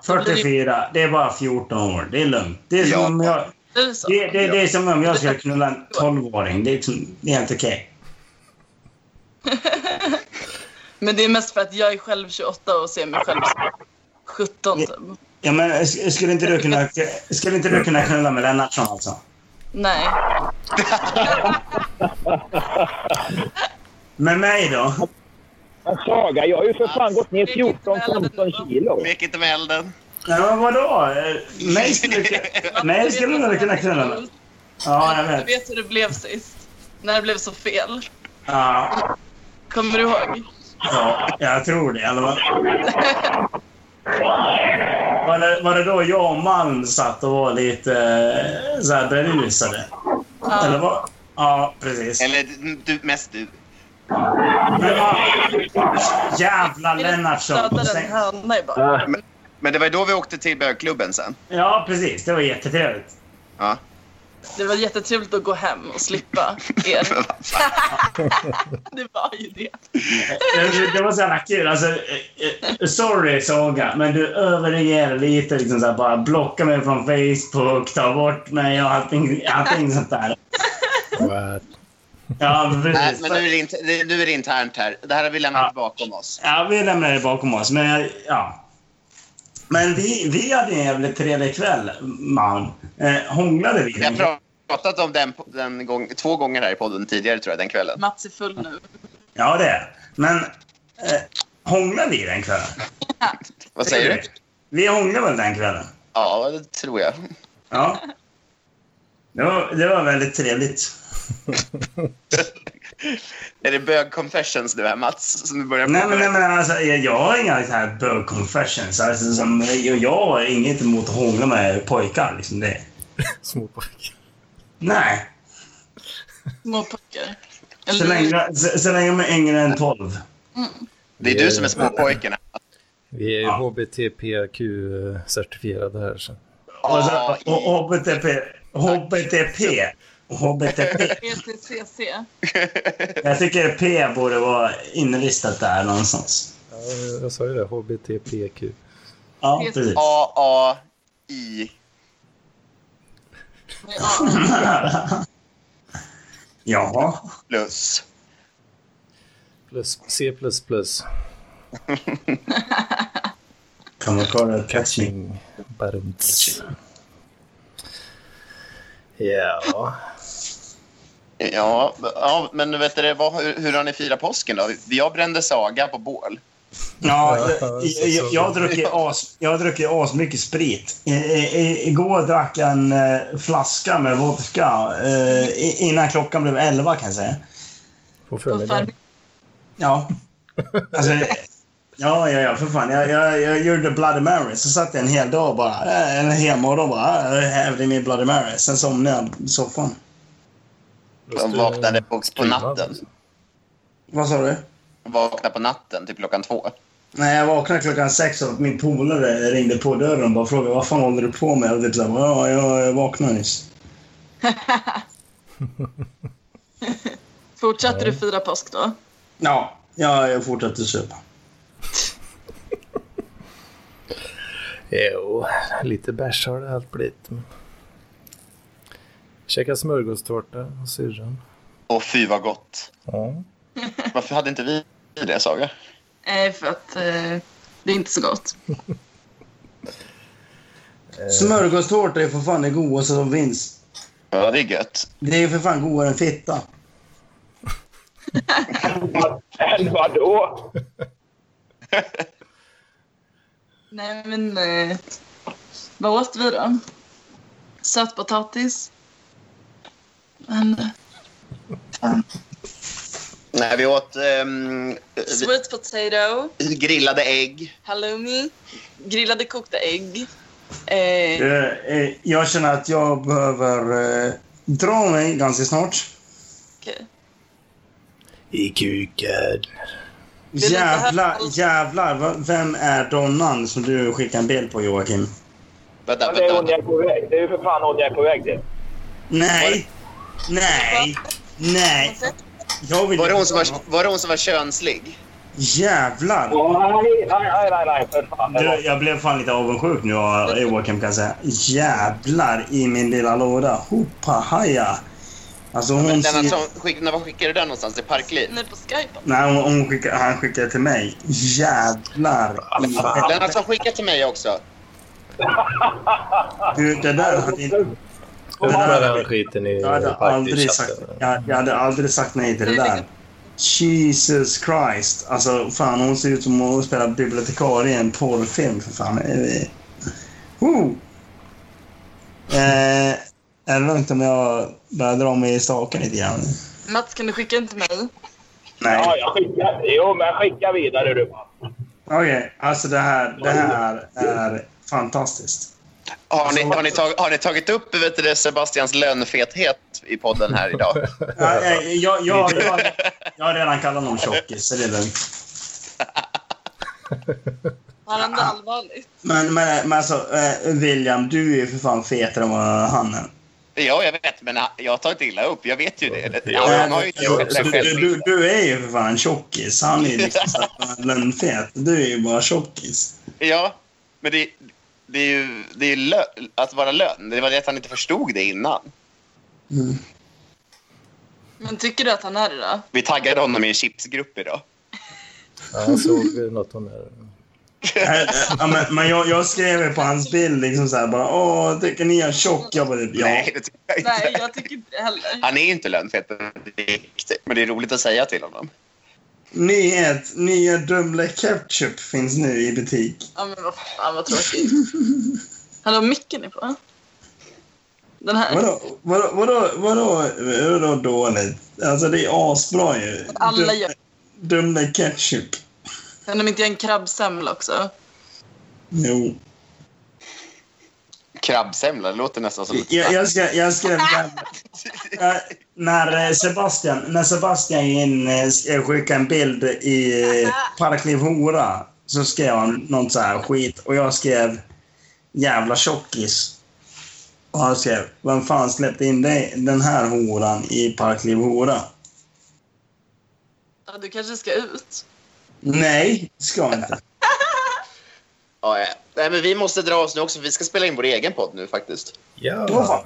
S1: 44. Det är bara 14 år. Det är lugnt. Det är som
S7: Ja.
S1: om jag,
S6: Det är så.
S1: det, det, det är som om jag skulle knulla en 12-åring. Det är, liksom, det är helt okej.
S6: Men det är mest för att jag är själv 28 och ser mig själv som 17, typ.
S1: Ja, men sk- skulle inte du kunna, skulle inte du kunna knulla med Lennartsson alltså?
S6: Nej.
S1: Med mig då?
S5: Men Saga, jag har ju för fan gått ner
S6: 14-15
S5: kilo.
S7: Lek inte med elden.
S1: Ja, men vadå? Eh, Mig skulle du kunna- mig skulle du kunna knulla med. Ja, jag
S6: Du
S1: vet.
S6: vet hur det blev sist. När det blev så fel.
S1: Ja.
S6: Kommer du ihåg?
S1: Ja, jag tror det. Eller vad? Var, det, var det då jag och Malm satt och var lite eh, så här berusade? Eller vad? Ja, precis.
S7: Eller du, mest du.
S1: Men vad? Jävla Lennartsson.
S6: Dödade en höna i bara.
S7: Men det var ju då vi åkte till bögklubben sen.
S1: Ja, precis. Det var jättetrevligt.
S7: Ja.
S6: Det var jättetrevligt att gå hem och slippa er. det var ju det.
S1: Det, det var så jävla kul. Alltså, eh, eh, sorry, Saga, men du överreagerar lite. Liksom så här, bara blocka mig från Facebook, ta bort mig och allting, allting sånt där.
S2: What?
S1: Ja,
S7: Nej,
S1: precis.
S7: men nu är, det inte, det- nu är det internt här. Det här har vi lämnat
S1: Ja.
S7: bakom oss.
S1: Ja, vi lämnar det bakom oss. Men, ja. men vi, vi hade en jävligt trevlig kväll, Malm. Eh, hånglade vi?
S7: Vi har pratat om den, den gång, två gånger här i podden tidigare, tror jag, den kvällen.
S6: Mats är full nu.
S1: Ja, det. är. Men eh, hånglade vi den kvällen?
S7: Vad säger du?
S1: Vi hånglade väl den kvällen?
S7: Ja, det tror jag.
S1: Ja. Det var, det var väldigt trevligt.
S7: Är det bög confessions nu här Mats? Som du börjar
S1: Nej, men,
S7: med?
S1: nej, men alltså, jag, jag har inga så här bög confessions. Alltså, som, jag, jag har inget emot att hångla med pojkar. Liksom det.
S2: Små pojkar.
S1: Nej,
S6: Små pojkar.
S1: så länge, så, så länge de är yngre än 12.
S7: Det är du som är småpojken. här.
S2: Vi är ju
S1: Ja.
S2: HBTPQ-certifierade här. Så.
S1: Och, så,
S7: Ja, i-
S1: Alltså, och HBTP, HBTP. HBTP.
S6: ETCC.
S1: Jag tycker P borde vara inristat där någonstans.
S2: Ja, jag sa ju det, HBTPQ.
S1: Ja, precis.
S7: A, A, I.
S6: Ja,
S1: Jaha.
S7: Plus.
S2: Plus, C++. plus plus.
S1: Kommer kolla catching.
S2: Catching. Barumts. Ja.
S7: Ja, ja men vet du, det, vad, hur, hur har ni firat påsken då? Jag brände saga på bål.
S1: Ja,
S2: Ja,
S1: jag,
S2: så-
S1: jag, jag har druckit as, jag har druckit asmycket sprit. I, i, igår drack jag en eh, flaska med vodka eh, i- innan klockan blev elva kan jag säga.
S2: På
S6: och
S2: förmiddagen.
S6: farm-
S1: Ja. Alltså, ja, ja, ja, för fan. Jag, jag, jag gjorde Bloody Mary. Så satt jag en hel dag och bara, eh, en hel morgon bara, eh, hävde i min Bloody Mary. Sen somnade jag i soffan.
S7: De vaknade på, på
S2: streamad.
S7: natten.
S1: Vad sa du?
S7: Vaknade på natten, typ klockan två.
S1: Nej, jag vaknade klockan sex och min polare ringde på dörren och bara frågade vad fan håller du på med? Och det var ja, jag, jag vaknade nyss.
S6: Fortsatte du fira påsk då?
S1: Ja, ja jag fortsatte supa.
S2: Jo, lite bärs har det allt blivit. men- Käka smörgåstårta och syrran.
S7: Och fy vad gott.
S2: Ja.
S7: Varför hade inte vi det Saga?
S6: Nej, för att eh, det är inte så gott.
S1: Eh. Smörgåstårta är för fan det godaste som finns.
S7: Ja, det är gött.
S1: Det är ju för fan godare än fitta.
S5: Än vadå?
S6: Nej, men eh, vad åt vi då? Sötpotatis. Men,
S7: Nej, vi åt ehm, vi
S6: sweet potato,
S7: grillade ägg.
S6: halloumi, grillade kokta ägg. Eh,
S1: Eh, eh, Jag känner att jag behöver eh, dra mig ganska snart.
S6: okej.
S2: I kuken.
S6: Vill du inte höra
S1: Jävlar,
S6: allt?
S1: jävlar. v- Vem är donnan som du skickar en bild på, Joakim?
S7: Vänta,
S5: Ja, det är hon jag
S7: vänta.
S5: är på väg. Det är ju för fan hon jag är på väg till.
S1: Nej! Nej! Nej! Jag vill
S7: Var det, hon
S1: inte
S7: som var, var det hon som var könslig?
S1: Jävlar!
S5: Nej, nej, nej, nej, nej, för fan.
S1: Du, jag blev fan lite avundsjuk nu av Joakim kan jag säga. Jävlar i min lilla låda. Hopahaja. Alltså hon
S7: Denna
S1: ser...
S7: som, skick, när- var skickade du den någonstans? I Parkliv?
S6: Ni på Skype?
S1: Nej, hon, hon skickar, han skickade till mig. Jävlar i helvete.
S7: Lennart som skickade till mig också.
S1: Du, Det där hade inte...
S2: Undrar den skiten i
S1: Jag hade aldrig sagt,
S2: eh,
S1: jag, jag hade aldrig sagt nej till det där. Jesus Christ. Alltså fan, hon ser ut som hon spelar bibliotekarie i en porrfilm för fan. Eh, Woo! Eh, är det lugnt om jag börjar dra mig i staken lite grann?
S6: Mats, kan du skicka den till mig?
S5: Ja,
S1: Nej.
S5: jag skickar. Jo, men skicka vidare du.
S1: Okej, alltså det här, det här är fantastiskt.
S7: Har ni, har ni, tag, har ni tagit upp vet du, det, Sebastians lönfethet i podden här idag?
S1: Jag, jag, eh, jag, jag, jag, jag har redan kallat honom tjockis, så det är lugnt.
S6: Har han det allvarligt?
S1: Men, men, men alltså, eh, William, du är ju för fan fetare än vad han är.
S7: (laughs) Ja, jag vet, men jag tar inte illa upp. Jag vet ju det.
S2: Ja,
S7: Han har ju inte
S1: Eh, du,
S7: gjort det
S1: du,
S7: själv.
S1: du, du är ju för fan en tjockis. Han är ju liksom så här lönnfet. Du är ju bara tjockis.
S7: Ja, men det, det är ju det är lö, att vara lön. Det var det att han inte förstod det innan.
S6: Men tycker du att han är det då?
S7: Vi taggade honom i en chipsgrupp idag.
S2: (laughs) Ja, jag såg något om det.
S1: Eh, Ja, men, men jag, jag skrev ju på hans bild liksom så här bara åh, tycker ni jag är tjock? Jag bara, ja.
S7: Nej, det tycker jag inte.
S6: Nej, jag tycker inte det heller.
S7: Han är ju inte lönfet på riktigt, men det är roligt att säga till honom.
S1: Nyhet, nya Dumle Ketchup finns nu i butik.
S6: Ja, men vad fan vad tråkigt. Hallå, micken är på. Den här.
S1: Vadå, vadå, vadå, vadå, vadå dåligt? Alltså det är asbra ju.
S6: Alla
S1: Dum-
S6: gör
S1: Dumle ketchup.
S6: Kan de inte göra en krabbsemla också?
S1: Jo.
S7: Krabbsemla, det låter nästan som...
S1: Jag, jag, ska, jag skrev den. Eh, När eh, Sebastian, när Sebastian in, eh, sk- skickade en bild i eh, Parkliv Hora så skrev han något så här skit och jag skrev jävla tjockis. Och han skrev, vem fan släppte in dig, den här horan i Parkliv Hora?
S6: Ja, du kanske ska ut?
S1: Nej, ska jag inte.
S7: Ja, ja. Nej, men vi måste dra oss nu också, för vi ska spela in vår egen podd nu faktiskt.
S1: Vad
S2: Ja,
S1: fan.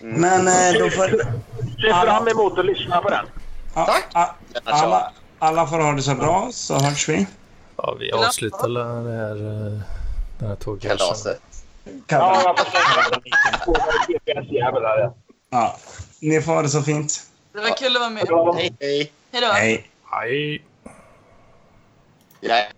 S1: Men eh, då får...
S5: Ser fram emot att lyssna på den.
S1: a- a-
S7: Alltså-
S1: Alla, alla får ha det så bra, så hörs vi.
S2: ja vi avslutar la- det här, eh, den här tågkraschen.
S7: Kalaset.
S5: Ja, jag (laughs) förstår.
S1: Ja. Ni får ha det så fint.
S6: Det var kul att vara med.
S5: Ja.
S7: Hej, hej.
S6: Hej då.
S1: Hej.
S2: Hej!
S7: Ja,